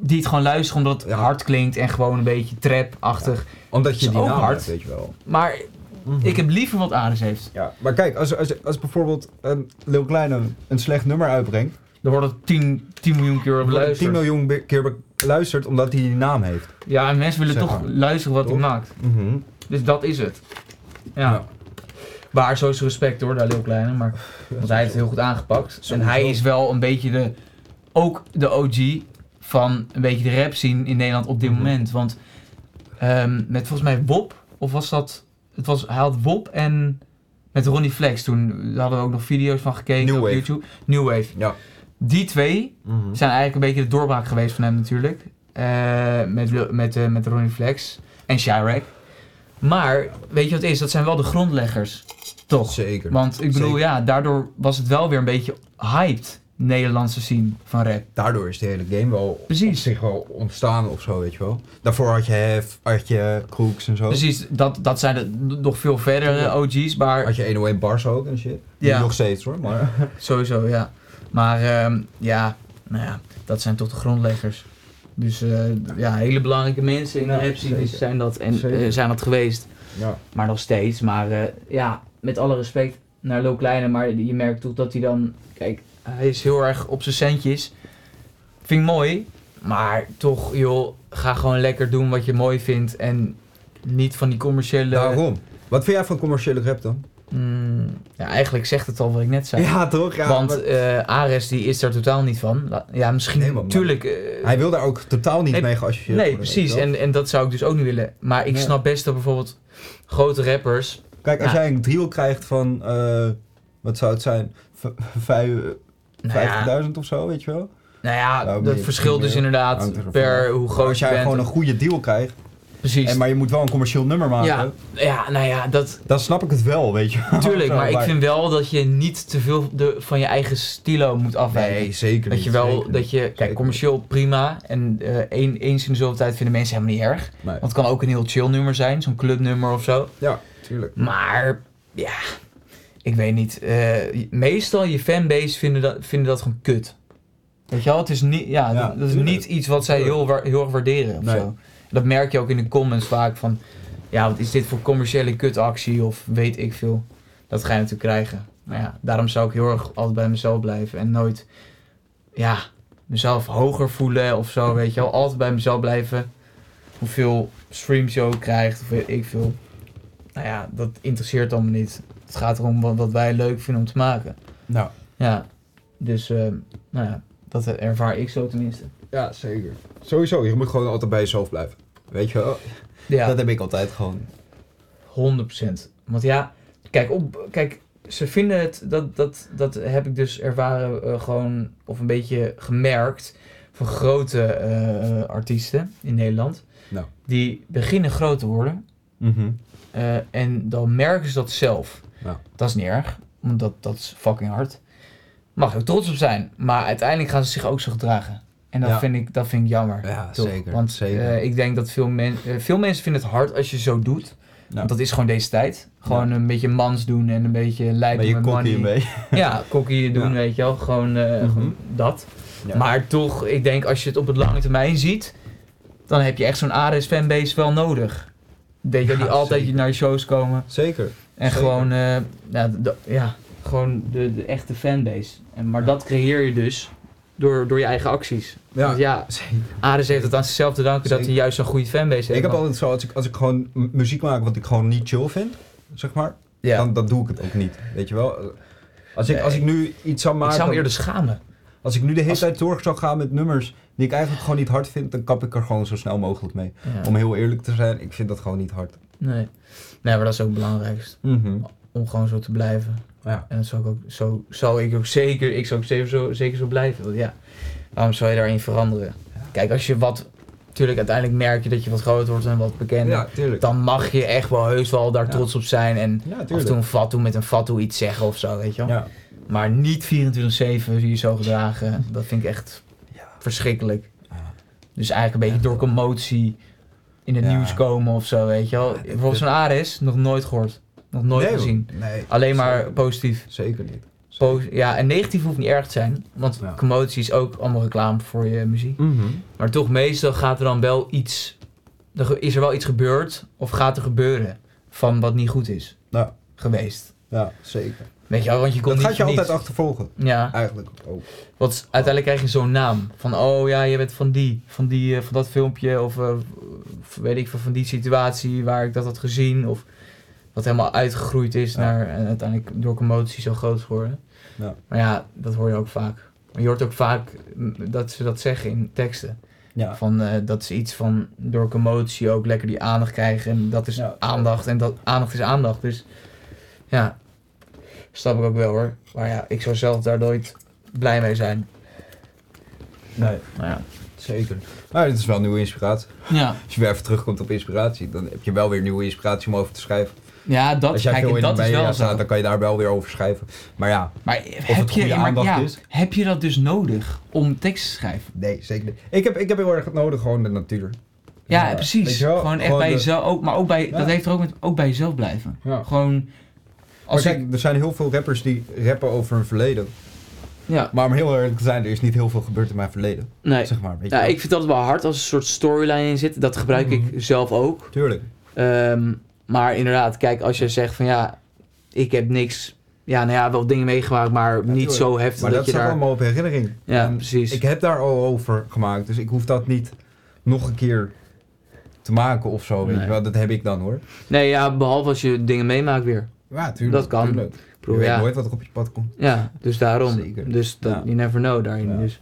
Speaker 2: die het gewoon luisteren omdat het
Speaker 3: Ja.
Speaker 2: hard klinkt en gewoon een beetje trap-achtig.
Speaker 3: Omdat je
Speaker 2: Is
Speaker 3: die
Speaker 2: ook
Speaker 3: naam
Speaker 2: hard. Hm.
Speaker 3: hebt, weet je wel.
Speaker 2: Maar
Speaker 3: Mhm.
Speaker 2: ik heb liever wat Aris heeft.
Speaker 3: Ja, maar kijk, als, als, als bijvoorbeeld een Lil Kleine een slecht nummer uitbrengt...
Speaker 2: Dan wordt het 10, 10 miljoen keer
Speaker 3: wordt het
Speaker 2: beluisterd.
Speaker 3: 10 miljoen be- keer beluisterd omdat hij die naam heeft.
Speaker 2: Ja, en mensen willen
Speaker 3: Zeg
Speaker 2: toch
Speaker 3: maar.
Speaker 2: luisteren wat hij
Speaker 3: Toch?
Speaker 2: maakt. Dus dat is het. Ja.
Speaker 3: Ja.
Speaker 2: Waar zo is respect hoor, daar Lil Kleine, maar, want hij heeft het heel goed aangepakt. En
Speaker 3: Sowieso.
Speaker 2: hij is wel een beetje de, ook de OG van een beetje de rap scene in Nederland op dit
Speaker 3: Mhm.
Speaker 2: moment. Want ehm, met volgens mij Wop, of was dat, het was, hij had Wop en met Ronnie Flex toen, daar hadden we ook nog video's van gekeken
Speaker 3: New
Speaker 2: op
Speaker 3: Wave. Mhm.
Speaker 2: YouTube. New Wave.
Speaker 3: Ja.
Speaker 2: Die twee zijn eigenlijk een beetje de doorbraak geweest van hem natuurlijk. Eh, met, Wil- met, eh, met Ronnie Flex en Shirek. Maar weet je wat het is? Dat zijn wel de grondleggers. Toch?
Speaker 3: Zeker.
Speaker 2: Want ik bedoel,
Speaker 3: Zeker.
Speaker 2: ja, daardoor was het wel weer een beetje hyped. Nederlandse scene van rap.
Speaker 3: Daardoor is de hele game wel
Speaker 2: Precies.
Speaker 3: op zich wel ontstaan of zo, weet je wel. Daarvoor had je Hef, had je Crooks en zo.
Speaker 2: Precies, dat, dat zijn de n- nog veel verdere OG's, maar
Speaker 3: Had je 101 Bars ook en shit.
Speaker 2: Ja.
Speaker 3: Nu Nog steeds hoor, maar...
Speaker 2: sowieso, ja. Maar ehm, ja, nou ja, dat zijn toch de grondleggers. Dus eh, ja, hele belangrijke mensen in de
Speaker 3: Ja,
Speaker 2: rap scene
Speaker 3: zeker.
Speaker 2: zijn dat, en,
Speaker 3: Zeker.
Speaker 2: eh, zijn dat geweest.
Speaker 3: Ja.
Speaker 2: Maar nog steeds. Maar eh, ja, met alle respect naar Lo Kleine. Maar je merkt toch dat hij dan... Kijk, hij is heel erg op zijn centjes. Vind ik mooi. Maar toch, joh, ga gewoon lekker doen wat je mooi vindt. En niet van die commerciële...
Speaker 3: Daarom. Wat vind jij van commerciële rap dan?
Speaker 2: Mm, ja, eigenlijk zegt het al wat ik net zei.
Speaker 3: Ja, toch? Ja,
Speaker 2: Want
Speaker 3: maar-
Speaker 2: eh, Ares die is daar totaal niet van. La- Ja, misschien
Speaker 3: Nee, man, maar-
Speaker 2: natuurlijk.
Speaker 3: Hij wil daar ook totaal niet
Speaker 2: Nee,
Speaker 3: mee geassocieerd
Speaker 2: nee,
Speaker 3: worden, weet
Speaker 2: precies.
Speaker 3: je wel.
Speaker 2: En, en dat zou ik dus ook niet willen. Maar ik
Speaker 3: Nee.
Speaker 2: snap best dat bijvoorbeeld grote rappers
Speaker 3: Kijk, als
Speaker 2: Ja.
Speaker 3: jij een driel krijgt van, eh, wat zou het zijn, V- vijf-
Speaker 2: Nou ja.
Speaker 3: 50.000 of zo, weet je wel?
Speaker 2: Nou ja,
Speaker 3: Nou,
Speaker 2: dat
Speaker 3: meer-
Speaker 2: verschilt dus
Speaker 3: meer hangt
Speaker 2: inderdaad
Speaker 3: ervan
Speaker 2: per
Speaker 3: af.
Speaker 2: hoe
Speaker 3: Maar
Speaker 2: groot
Speaker 3: als
Speaker 2: je
Speaker 3: jij
Speaker 2: bent.
Speaker 3: gewoon een goede deal krijgt,
Speaker 2: Precies.
Speaker 3: en, maar je moet wel een commercieel nummer maken,
Speaker 2: Ja. Ja, nou ja, dat
Speaker 3: dan snap ik het wel, weet je wel.
Speaker 2: tuurlijk.
Speaker 3: Nou, Zo,
Speaker 2: maar ik vind wel dat je niet te veel de, van je eigen stilo moet afwijken.
Speaker 3: Nee, zeker
Speaker 2: dat
Speaker 3: niet,
Speaker 2: je wel,
Speaker 3: zeker
Speaker 2: dat
Speaker 3: niet,
Speaker 2: je, kijk,
Speaker 3: zeker
Speaker 2: commercieel prima. En eh, één, eens in de zoveel tijd vinden mensen helemaal niet erg.
Speaker 3: niet. Nee.
Speaker 2: Want het kan ook een heel chill nummer zijn, zo'n clubnummer of zo.
Speaker 3: Ja, tuurlijk.
Speaker 2: Maar ja, ik weet niet. eh, meestal je fanbase vinden dat, vinden dat gewoon kut. Weet je wel, het is niet, ja,
Speaker 3: Ja,
Speaker 2: dat is
Speaker 3: tuurlijk.
Speaker 2: niet iets wat zij heel, wa- heel erg waarderen. Of
Speaker 3: Nee.
Speaker 2: zo. Dat merk je ook in de comments vaak van, ja, wat is dit voor commerciële kutactie of weet ik veel. Dat ga je natuurlijk krijgen. Maar ja, daarom zou ik heel erg altijd bij mezelf blijven en nooit, ja, mezelf hoger voelen of zo, weet je wel. Altijd bij mezelf blijven. Hoeveel streams je ook krijgt of weet ik veel. Nou ja, dat interesseert allemaal niet. Het gaat erom wat, wat wij leuk vinden om te maken.
Speaker 3: Nou,
Speaker 2: Ja, dus eh, nou ja, dat ervaar ik zo tenminste.
Speaker 3: ja, zeker. Sowieso, je moet gewoon altijd bij jezelf blijven. Weet je wel?
Speaker 2: Ja,
Speaker 5: Dat heb ik altijd gewoon.
Speaker 2: 100%. Want ja, kijk, op, kijk ze vinden het, dat, dat, dat heb ik dus ervaren, eh, gewoon, of een beetje gemerkt, van grote eh, artiesten in Nederland.
Speaker 3: Nou.
Speaker 2: Die beginnen groot te worden.
Speaker 5: Mhm.
Speaker 2: Eh, en dan merken ze dat zelf.
Speaker 3: Ja.
Speaker 2: Dat is niet erg, want dat, dat is fucking hard. Mag je ook trots op zijn, maar uiteindelijk gaan ze zich ook zo gedragen. En dat,
Speaker 5: Ja.
Speaker 2: vind, ik, dat vind ik jammer.
Speaker 5: Ja,
Speaker 2: toch?
Speaker 5: zeker.
Speaker 2: Want
Speaker 5: zeker.
Speaker 2: eh, ik denk dat veel, men, eh, veel mensen vinden het hard als je zo doet.
Speaker 5: Nou,
Speaker 2: Want dat is gewoon deze tijd. Gewoon een beetje mans doen en een beetje
Speaker 5: maar
Speaker 2: lijpen
Speaker 5: je
Speaker 2: met
Speaker 5: kok
Speaker 2: money.
Speaker 5: hiermee.
Speaker 2: Ja, kokkie doen,
Speaker 5: Ja.
Speaker 2: weet je wel. Gewoon eh, gewoon dat.
Speaker 5: Ja.
Speaker 2: Maar toch, ik denk als je het op het lange termijn ziet, dan heb je echt zo'n Ares fanbase wel nodig. Weet je, wel, die
Speaker 5: Ja,
Speaker 2: altijd
Speaker 5: zeker.
Speaker 2: naar je shows komen.
Speaker 5: Zeker.
Speaker 2: En
Speaker 5: Zeker.
Speaker 2: gewoon, eh, ja, de, ja, gewoon de, de echte fanbase. En, maar dat creëer je dus door, door je eigen acties. Ja. Want ja, Ares heeft het aan zichzelf te danken dat hij
Speaker 3: Zeker.
Speaker 2: juist zo'n goede fanbase heeft.
Speaker 3: Ik heb
Speaker 2: Want-
Speaker 3: altijd zo, als ik, als ik gewoon m- muziek maak wat ik gewoon niet chill vind, zeg maar,
Speaker 2: ja.
Speaker 3: dan, dan doe ik het ook niet. Weet je wel? Als ik, als ik nu iets zou
Speaker 2: ik
Speaker 3: maken,
Speaker 2: zou me eerder schamen.
Speaker 3: als ik nu de hele
Speaker 2: als-
Speaker 3: tijd door zou gaan met nummers die ik eigenlijk gewoon niet hard vind, dan kap ik er gewoon zo snel mogelijk mee.
Speaker 2: Ja.
Speaker 3: Om heel eerlijk te zijn, ik vind dat gewoon niet hard.
Speaker 2: Nee. nee, maar dat is ook het belangrijkste.
Speaker 5: Mhm.
Speaker 2: Om gewoon zo te blijven.
Speaker 3: Ja.
Speaker 2: En dat zou ik ook, zo, zou ik ook zeker, ik zou ook zeker zo, zeker zo blijven. Want ja, waarom zou je daarin veranderen? Kijk, als je wat, natuurlijk uiteindelijk merk je dat je wat groter wordt en eh, wat bekender.
Speaker 3: ja, tuurlijk.
Speaker 2: Dan mag je echt wel heus wel daar
Speaker 3: Ja.
Speaker 2: trots op zijn en
Speaker 3: Ja,
Speaker 2: af en toe
Speaker 3: tuurlijk.
Speaker 2: een fatsoen met een fatsoen iets zeggen of zo, weet je wel.
Speaker 3: Ja.
Speaker 2: Maar niet 24-7 je zo gedragen, dat vind ik echt verschrikkelijk. Dus eigenlijk een beetje door commotie in het
Speaker 3: Ja.
Speaker 2: nieuws komen of zo, weet je wel. Bijvoorbeeld zo'n Ares, nog nooit gehoord, nog nooit
Speaker 3: Nee,
Speaker 2: gezien.
Speaker 3: hoor. Nee,
Speaker 2: Alleen maar
Speaker 3: Zeker.
Speaker 2: positief.
Speaker 3: zeker niet.
Speaker 2: Po- ja, en negatief hoeft niet erg te zijn, want
Speaker 3: Ja.
Speaker 2: commotie is ook allemaal reclame voor je muziek. Maar toch, meestal gaat er dan wel iets, er ge- is er wel iets gebeurd of gaat er gebeuren van wat niet goed is
Speaker 3: Ja.
Speaker 2: geweest.
Speaker 3: Ja, zeker.
Speaker 2: Weet je wel, want je komt
Speaker 3: Dat
Speaker 2: niet
Speaker 3: gaat je
Speaker 2: voor
Speaker 3: altijd
Speaker 2: niets.
Speaker 3: achtervolgen,
Speaker 2: Ja,
Speaker 3: eigenlijk ook.
Speaker 2: want uiteindelijk krijg je zo'n naam. Van, oh ja, je bent van die, van, die, eh, van dat filmpje of eh, v- weet ik veel, van die situatie waar ik dat had gezien. Of wat helemaal uitgegroeid is
Speaker 3: Ja.
Speaker 2: naar, en uiteindelijk door commotie zo groot is geworden.
Speaker 3: Ja.
Speaker 2: Maar ja, dat hoor je ook vaak. Maar je hoort ook vaak mm, dat ze dat zeggen in teksten.
Speaker 3: Ja.
Speaker 2: Van, eh, dat ze iets van door commotie ook lekker die aandacht krijgen. En dat is
Speaker 3: Ja.
Speaker 2: aandacht. En dat aandacht is aandacht. Dus ja, snap ik ook wel hoor. Maar ja, ik zou zelf daar nooit blij mee zijn.
Speaker 3: Nee,
Speaker 2: Nou ja.
Speaker 3: zeker. Maar het is wel nieuwe inspiratie.
Speaker 2: Ja,
Speaker 3: Als je weer even terugkomt op inspiratie, dan heb je wel weer nieuwe inspiratie om over te schrijven.
Speaker 2: ja dat,
Speaker 3: Als jij
Speaker 2: kijk,
Speaker 3: veel in de
Speaker 2: dat is
Speaker 3: media
Speaker 2: wel zo.
Speaker 3: staat, dan kan je daar wel weer over schrijven. Maar ja,
Speaker 2: Maar
Speaker 3: het
Speaker 2: heb je,
Speaker 3: goede
Speaker 2: maar
Speaker 3: aandacht
Speaker 2: ja,
Speaker 3: is.
Speaker 2: heb je dat dus nodig om tekst te schrijven?
Speaker 3: nee, zeker niet. Ik heb, ik heb heel erg het nodig, gewoon de natuur.
Speaker 2: Ja,
Speaker 3: Ja, weet
Speaker 2: precies.
Speaker 3: je wel,
Speaker 2: gewoon echt
Speaker 3: gewoon
Speaker 2: bij
Speaker 3: de-
Speaker 2: jezelf, ook, maar ook bij,
Speaker 3: Ja.
Speaker 2: dat heeft er ook met, ook bij jezelf blijven.
Speaker 3: Ja.
Speaker 2: Gewoon,
Speaker 3: Als
Speaker 2: als
Speaker 3: kijk,
Speaker 2: ik,
Speaker 3: er zijn heel veel rappers die rappen over hun verleden.
Speaker 6: Ja.
Speaker 3: Maar om heel eerlijk te zijn, er is niet heel veel gebeurd in mijn verleden.
Speaker 6: Nee.
Speaker 3: Zeg maar, weet je
Speaker 6: Ja,
Speaker 3: wel.
Speaker 6: ik vind dat wel hard als er een soort storyline in zit. Dat gebruik
Speaker 3: Mhm.
Speaker 6: ik zelf ook.
Speaker 3: Tuurlijk.
Speaker 6: Ehm, maar inderdaad, kijk, als je zegt van ja, ik heb niks. Ja, nou ja, wel dingen meegemaakt, maar niet
Speaker 3: tuurlijk.
Speaker 6: zo heftig
Speaker 3: Maar
Speaker 6: dat,
Speaker 3: dat
Speaker 6: je
Speaker 3: staat
Speaker 6: daar.
Speaker 3: allemaal op herinnering.
Speaker 6: Ja,
Speaker 3: En
Speaker 6: precies.
Speaker 3: Ik heb daar al over gemaakt, dus ik hoef dat niet nog een keer te maken of zo. Weet
Speaker 6: Nee.
Speaker 3: je wel. Dat heb ik dan hoor.
Speaker 6: Nee, ja, behalve als je dingen meemaakt weer.
Speaker 3: Ja, tuurlijk.
Speaker 6: Dat kan.
Speaker 3: tuurlijk.
Speaker 6: Ik
Speaker 3: Je
Speaker 6: bedoel,
Speaker 3: weet
Speaker 6: ja.
Speaker 3: nooit wat er op je pad komt.
Speaker 6: ja, dus daarom.
Speaker 3: Zeker.
Speaker 6: Dus dat,
Speaker 3: Ja.
Speaker 6: you never know daarin.
Speaker 3: Ja.
Speaker 6: Dus.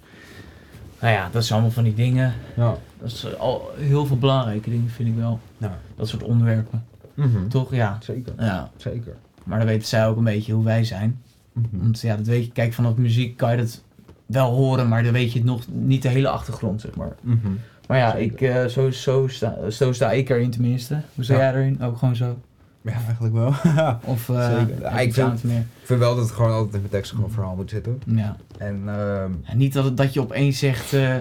Speaker 2: nou ja, dat zijn allemaal van die dingen.
Speaker 3: Ja.
Speaker 2: Dat is al heel veel belangrijke dingen, vind ik wel.
Speaker 3: Ja.
Speaker 2: Dat soort onderwerpen.
Speaker 3: Mhm.
Speaker 2: Toch? Ja.
Speaker 3: Zeker.
Speaker 2: ja.
Speaker 3: Zeker.
Speaker 2: Maar dan weten zij ook een beetje hoe wij zijn.
Speaker 3: Mhm.
Speaker 2: Want ja, dat weet je, kijk, vanaf muziek kan je dat wel horen, maar dan weet je het nog niet de hele achtergrond, zeg maar.
Speaker 3: Mhm.
Speaker 2: Maar ja,
Speaker 3: Zeker.
Speaker 2: ik, eh, zo, zo, sta, zo sta ik erin tenminste. Hoe sta
Speaker 3: Ja.
Speaker 2: jij erin? Ook gewoon zo?
Speaker 3: Ja, eigenlijk wel. ik
Speaker 2: Of eh,
Speaker 3: Zeker.
Speaker 2: heb
Speaker 3: Ja,
Speaker 2: je
Speaker 3: ik
Speaker 2: iets
Speaker 3: vind-
Speaker 2: aan het meer?
Speaker 3: vind wel dat het gewoon altijd in mijn tekst gewoon een verhaal moet zitten.
Speaker 2: Ja.
Speaker 3: En ehm,
Speaker 2: Ja, Niet dat, het- dat je opeens zegt, eh,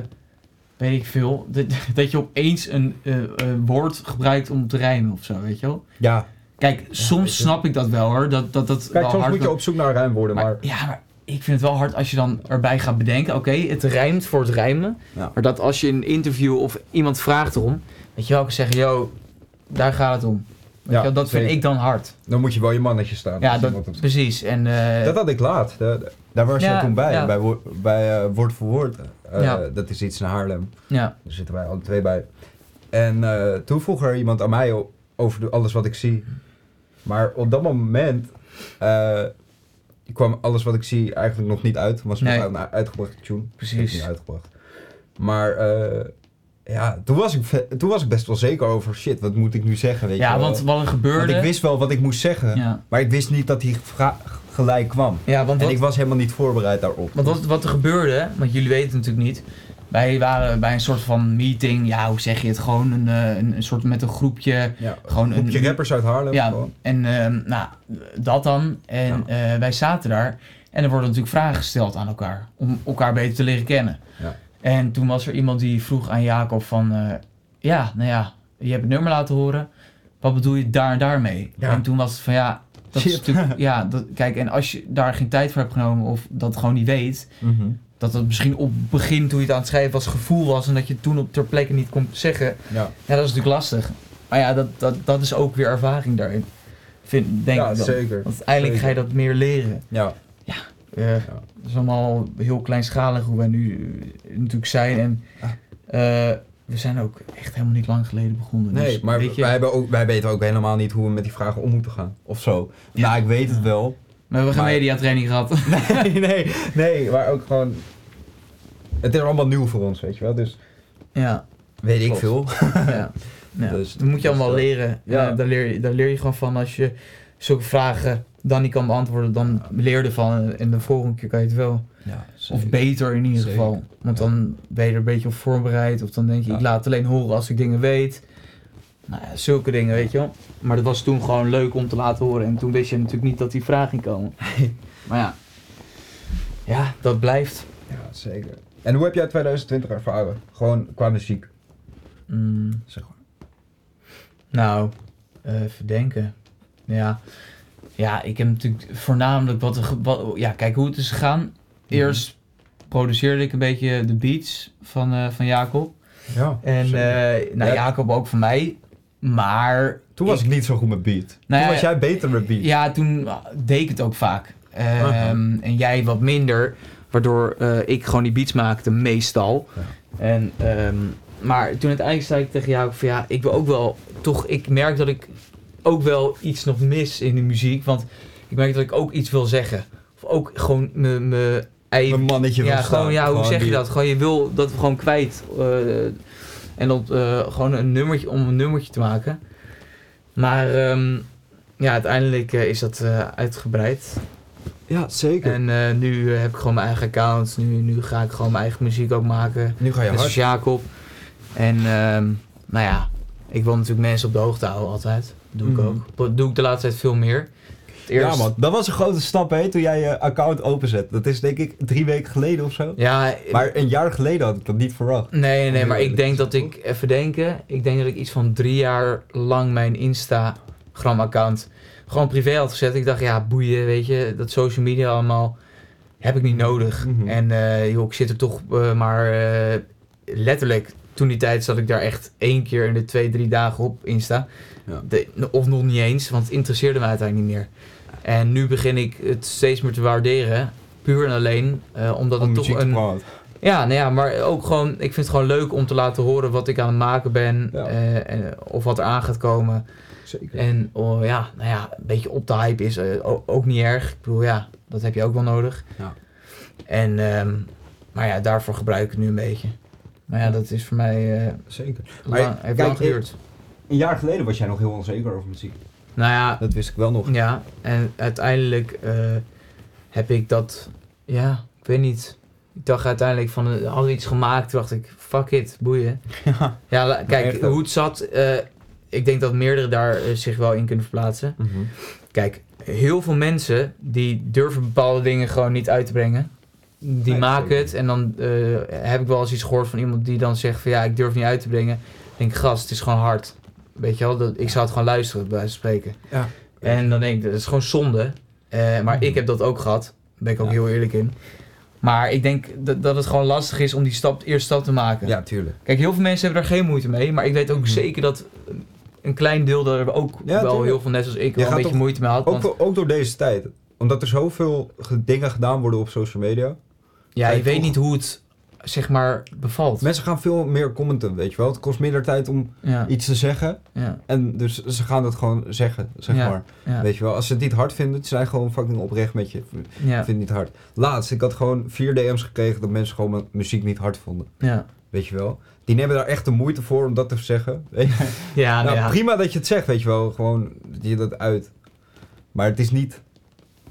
Speaker 2: weet ik veel, dat, dat je opeens een eh, eh, woord gebruikt om te rijmen of zo, weet je wel?
Speaker 3: ja,
Speaker 2: Kijk,
Speaker 3: weet
Speaker 2: soms
Speaker 3: je.
Speaker 2: snap ik dat wel hoor, dat dat, dat
Speaker 3: kijk,
Speaker 2: wel
Speaker 3: soms
Speaker 2: hard
Speaker 3: moet je op zoek naar rijmwoorden,
Speaker 2: maar,
Speaker 3: maar...
Speaker 2: Ja, maar ik vind het wel hard als je dan erbij gaat bedenken, oké, het rijmt voor het rijmen,
Speaker 3: Ja.
Speaker 2: maar dat als je in een interview of iemand vraagt erom, dat je wel kan zeggen, yo, daar gaat het om. Weet
Speaker 3: Ja,
Speaker 2: je wel, dat vind
Speaker 3: zeker.
Speaker 2: ik dan hard.
Speaker 3: Dan moet je wel je mannetje staan.
Speaker 2: Ja,
Speaker 3: als
Speaker 2: dat,
Speaker 3: iemand op-
Speaker 2: precies. En, eh,
Speaker 3: Dat had ik laat. Da- da- Daar was je
Speaker 2: Ja,
Speaker 3: toen bij,
Speaker 2: ja.
Speaker 3: bij, wo- bij eh, Woord voor Woord. Eh,
Speaker 2: Ja.
Speaker 3: Dat is iets in Haarlem.
Speaker 2: ja,
Speaker 3: Daar zitten wij alle twee bij. En eh, toen vroeg er iemand aan mij o- over de- alles wat ik zie. Maar op dat moment eh, kwam alles wat ik zie eigenlijk nog niet uit. Was nog
Speaker 2: Nee.
Speaker 3: een uitgebrachte tune.
Speaker 2: Precies.
Speaker 3: Niet uitgebracht. Maar eh, ja, toen was, ik, ve- toen was ik best wel zeker over shit, wat moet ik nu zeggen? Weet je
Speaker 2: Ja,
Speaker 3: wel.
Speaker 2: want wat er
Speaker 3: Want
Speaker 2: gebeurde...
Speaker 3: ik wist wel wat ik moest zeggen,
Speaker 2: ja.
Speaker 3: maar ik wist niet dat die vra- gelijk kwam.
Speaker 2: ja, want
Speaker 3: En
Speaker 2: wat,
Speaker 3: ik was helemaal niet voorbereid daarop.
Speaker 2: want wat, wat er gebeurde, want jullie weten het natuurlijk niet. Wij waren bij een soort van meeting, ja, hoe zeg je het? Gewoon een, eh, een, een soort met een groepje.
Speaker 3: Ja,
Speaker 2: Gewoon
Speaker 3: een groepje
Speaker 2: een-
Speaker 3: rappers uit Haarlem.
Speaker 2: Ja,
Speaker 3: gewoon.
Speaker 2: en ehm, nou, dat dan. En eh, wij zaten daar. En er worden natuurlijk vragen gesteld aan elkaar. Om elkaar beter te leren kennen.
Speaker 3: Ja.
Speaker 2: En toen was er iemand die vroeg aan Jacob van... eh, ja, nou ja, je hebt het nummer laten horen. Wat bedoel je daar en daarmee?
Speaker 3: Ja.
Speaker 2: En toen was het van ja... Dat is
Speaker 3: Shit.
Speaker 2: natuurlijk, ja, dat, kijk, en als je daar geen tijd voor hebt genomen of dat gewoon niet weet,
Speaker 3: Mhm.
Speaker 2: dat dat misschien op het begin toen je het aan het schrijven was gevoel was en dat je het toen op ter plekke niet kon zeggen,
Speaker 3: ja.
Speaker 2: ja, dat is natuurlijk lastig. Maar ja, dat, dat, dat is ook weer ervaring daarin. Vind, denk
Speaker 3: ja,
Speaker 2: ik dan.
Speaker 3: zeker.
Speaker 2: Want uiteindelijk ga je dat meer leren.
Speaker 3: Ja,
Speaker 2: ja. Dat is allemaal heel kleinschalig hoe wij nu eh, natuurlijk zijn. En
Speaker 3: Ah.
Speaker 2: eh, we zijn ook echt helemaal niet lang geleden begonnen.
Speaker 3: nee,
Speaker 2: dus,
Speaker 3: maar
Speaker 2: weet je,
Speaker 3: wij, hebben ook, wij weten ook helemaal niet hoe we met die vragen om moeten gaan. Of zo. Nou, ik weet het wel.
Speaker 2: we hebben geen
Speaker 3: maar-
Speaker 2: mediatraining gehad.
Speaker 3: nee, nee, nee, maar ook gewoon... Het is allemaal nieuw voor ons, weet je wel. Dus
Speaker 2: ja,
Speaker 3: weet ik
Speaker 2: Klopt.
Speaker 3: veel.
Speaker 2: ja. ja.
Speaker 3: Dus-
Speaker 2: dat moet je allemaal
Speaker 3: dus, eh,
Speaker 2: leren.
Speaker 3: ja.
Speaker 2: Ja. daar, leer je, daar leer je gewoon van als je zulke vragen dan niet kan beantwoorden, dan leer je ervan. En de volgende keer kan je het wel.
Speaker 3: Ja,
Speaker 2: Of beter in ieder
Speaker 3: Zeker.
Speaker 2: geval. Want
Speaker 3: Ja.
Speaker 2: dan ben je er een beetje op voorbereid. Of dan denk je,
Speaker 3: Ja.
Speaker 2: ik laat het alleen horen als ik dingen weet. Nou ja, zulke dingen, weet je wel. Maar dat was toen gewoon leuk om te laten horen. En toen wist je natuurlijk niet dat die vraag ging komen. maar ja. Ja, dat blijft.
Speaker 3: Ja, zeker. En hoe heb jij 2020 ervaren? Gewoon qua muziek,
Speaker 2: Mm,
Speaker 3: zeg maar.
Speaker 2: nou, eh, even denken. Ja. ja, ik heb natuurlijk voornamelijk wat, er ge- wat... Ja, kijk hoe het is gegaan.
Speaker 3: Mhm.
Speaker 2: Eerst produceerde ik een beetje de beats van, eh, van Jacob.
Speaker 3: Ja.
Speaker 2: En eh nou,
Speaker 3: Ja.
Speaker 2: Jacob ook van mij. Maar.
Speaker 3: toen was ik, niet zo goed met beat.
Speaker 2: Nou
Speaker 3: toen
Speaker 2: ja,
Speaker 3: was jij beter met beat.
Speaker 2: Ja, toen deed ik het ook vaak. Ehm,
Speaker 3: Aha.
Speaker 2: En jij wat minder. Waardoor eh, ik gewoon die beats maakte, meestal.
Speaker 3: Ja.
Speaker 2: En, ehm, maar toen uiteindelijk zei ik tegen jou van ja, ik wil ook wel. Toch, ik merk dat ik ook wel iets nog mis in de muziek. Want ik merk dat ik ook iets wil zeggen. Of ook gewoon mijn- mijn ei-
Speaker 3: Een mannetje
Speaker 2: ja,
Speaker 3: wil staan.
Speaker 2: gewoon, ja, hoe zeg je
Speaker 3: die-
Speaker 2: dat? Gewoon, je wil dat gewoon kwijt. eh, en dat eh, gewoon een nummertje om een nummertje te maken. Maar ehm, ja, uiteindelijk eh, is dat eh, uitgebreid.
Speaker 3: Ja, zeker.
Speaker 2: En eh, nu eh, heb ik gewoon mijn eigen account. Nu, nu ga ik gewoon mijn eigen muziek ook maken.
Speaker 3: nu ga je
Speaker 2: Net
Speaker 3: hard.
Speaker 2: zoals Jacob. En ehm, nou ja, ik wil natuurlijk mensen op de hoogte houden altijd. Doe ik
Speaker 3: Mhm.
Speaker 2: ook. Dat doe ik de laatste tijd veel meer. Het eerst-
Speaker 3: Ja, man. Dat was een grote stap, hè, toen jij je account openzet. Dat is denk ik drie weken geleden of zo.
Speaker 2: Ja,
Speaker 3: Maar een jaar geleden had ik dat niet verwacht.
Speaker 2: Nee, nee,
Speaker 3: Om
Speaker 2: maar
Speaker 3: heel
Speaker 2: ik
Speaker 3: eerlijk
Speaker 2: denk
Speaker 3: te
Speaker 2: dat
Speaker 3: zijn,
Speaker 2: ik, even denken, ik denk dat ik iets van drie jaar lang mijn Instagram-account gewoon privé had gezet. Ik dacht, ja, boeien, weet je, dat social media allemaal heb ik niet nodig.
Speaker 3: Mhm.
Speaker 2: En eh, joh, ik zit er toch eh, maar eh, letterlijk, toen die tijd zat ik daar echt één keer in de twee, drie dagen op Insta.
Speaker 3: Ja.
Speaker 2: De- of nog niet eens, want het interesseerde me uiteindelijk niet meer. En nu begin ik het steeds meer te waarderen, puur en alleen, eh, omdat
Speaker 3: Om
Speaker 2: het toch
Speaker 3: muziek te
Speaker 2: een...
Speaker 3: praten.
Speaker 2: Ja, nou ja, maar ook gewoon, ik vind het gewoon leuk om te laten horen wat ik aan het maken ben.
Speaker 3: Ja.
Speaker 2: eh, en, of wat er aan gaat komen.
Speaker 3: Zeker.
Speaker 2: En oh, ja, nou ja, een beetje op de hype is eh, o- ook niet erg. Ik bedoel, ja, dat heb je ook wel nodig.
Speaker 3: Ja.
Speaker 2: En, ehm, maar ja, daarvoor gebruik ik het nu een beetje. Maar ja, dat is voor mij eh
Speaker 3: Zeker. Maar
Speaker 2: lang, heeft
Speaker 3: kijk,
Speaker 2: lang
Speaker 3: ik-
Speaker 2: geduurd.
Speaker 3: Een jaar geleden was jij nog heel onzeker over muziek.
Speaker 2: nou ja,
Speaker 3: Dat wist ik wel nog.
Speaker 2: Ja, en uiteindelijk eh, heb ik dat, ja, ik weet niet. Ik dacht uiteindelijk van, eh, hadden we iets gemaakt, toen dacht ik, fuck it, boeien. Ja, la-
Speaker 3: echt
Speaker 2: kijk,
Speaker 3: ook.
Speaker 2: hoe het zat, eh, ik denk dat meerdere daar eh, zich wel in kunnen verplaatsen. Kijk, heel veel mensen die durven bepaalde dingen gewoon niet uit te brengen. Die
Speaker 3: Nee,
Speaker 2: maken
Speaker 3: zeker.
Speaker 2: het en dan eh, heb ik wel eens iets gehoord van iemand die dan zegt van ja, ik durf niet uit te brengen. Ik denk, gast, het is gewoon hard. Weet je wel, dat, ik zou het gewoon luisteren, bij wijze van spreken.
Speaker 3: Ja.
Speaker 2: En dan denk ik, dat is gewoon zonde. Eh, maar
Speaker 3: Mhm.
Speaker 2: ik heb dat ook gehad. Daar ben ik ook
Speaker 3: Ja.
Speaker 2: heel eerlijk in. Maar ik denk dat, dat het gewoon lastig is om die stap, eerste stap te maken.
Speaker 3: Ja, tuurlijk.
Speaker 2: Kijk, heel veel mensen hebben daar geen moeite mee. Maar ik weet ook
Speaker 3: Mhm.
Speaker 2: zeker dat een klein deel daar ook wel
Speaker 3: tuurlijk.
Speaker 2: heel veel, net zoals ik, wel
Speaker 3: gaat
Speaker 2: een beetje
Speaker 3: toch
Speaker 2: moeite mee had.
Speaker 3: Ook,
Speaker 2: Want
Speaker 3: door- ook door deze tijd. Omdat er zoveel ge- dingen gedaan worden op social media.
Speaker 2: ja, je
Speaker 3: Kijk,
Speaker 2: weet
Speaker 3: toch-
Speaker 2: niet hoe het, zeg maar, bevalt.
Speaker 3: Mensen gaan veel meer commenten, weet je wel. Het kost minder tijd om
Speaker 2: Ja,
Speaker 3: iets te zeggen.
Speaker 2: ja,
Speaker 3: En dus ze gaan dat gewoon zeggen, zeg
Speaker 2: Ja,
Speaker 3: maar.
Speaker 2: ja,
Speaker 3: Weet je wel, als ze het niet hard vinden, ze zijn gewoon fucking oprecht met je. Ik vind
Speaker 2: ja,
Speaker 3: het niet hard. Laatst, ik had gewoon vier DM's gekregen dat mensen gewoon mijn muziek niet hard vonden.
Speaker 2: ja.
Speaker 3: Weet je wel. Die nemen daar echt de moeite voor om dat te zeggen. Weet je?
Speaker 2: Ja,
Speaker 3: nou,
Speaker 2: nou ja.
Speaker 3: Prima dat je het zegt, weet je wel. Gewoon dat je dat uit. Maar het is niet.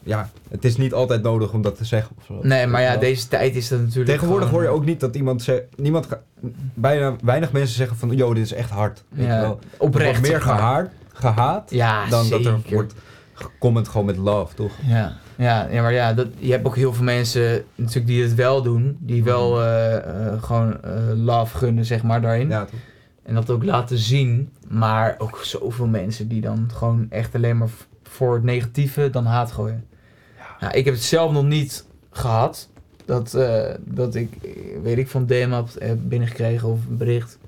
Speaker 3: Ja, het is niet altijd nodig om dat te zeggen. Of zo.
Speaker 2: Nee, maar ja,
Speaker 3: Wel.
Speaker 2: deze tijd is dat natuurlijk.
Speaker 3: Tegenwoordig
Speaker 2: gewoon-
Speaker 3: hoor je ook niet dat iemand zegt. Niemand ga- bijna weinig mensen zeggen van. Yo, dit is echt hard. Weet je
Speaker 2: eh, Ja,
Speaker 3: wel. Er
Speaker 2: oprecht.
Speaker 3: wordt meer
Speaker 2: zeg maar.
Speaker 3: gehaard, gehaat
Speaker 2: Ja,
Speaker 3: dan
Speaker 2: zeker.
Speaker 3: dat er wordt gecomment gewoon met love, toch?
Speaker 2: Ja, ja, ja maar ja, dat, je hebt ook heel veel mensen natuurlijk die het wel doen. Die
Speaker 3: Hmm.
Speaker 2: wel eh, eh, gewoon eh, love gunnen, zeg maar, daarin.
Speaker 3: Ja, toch?
Speaker 2: En dat ook laten zien. Maar ook zoveel mensen die dan gewoon echt alleen maar v- voor het negatieve dan haat gooien. Ja, ik heb het zelf nog niet gehad. Dat, eh, dat ik, eh, weet ik, van DM heb heb binnengekregen of een bericht.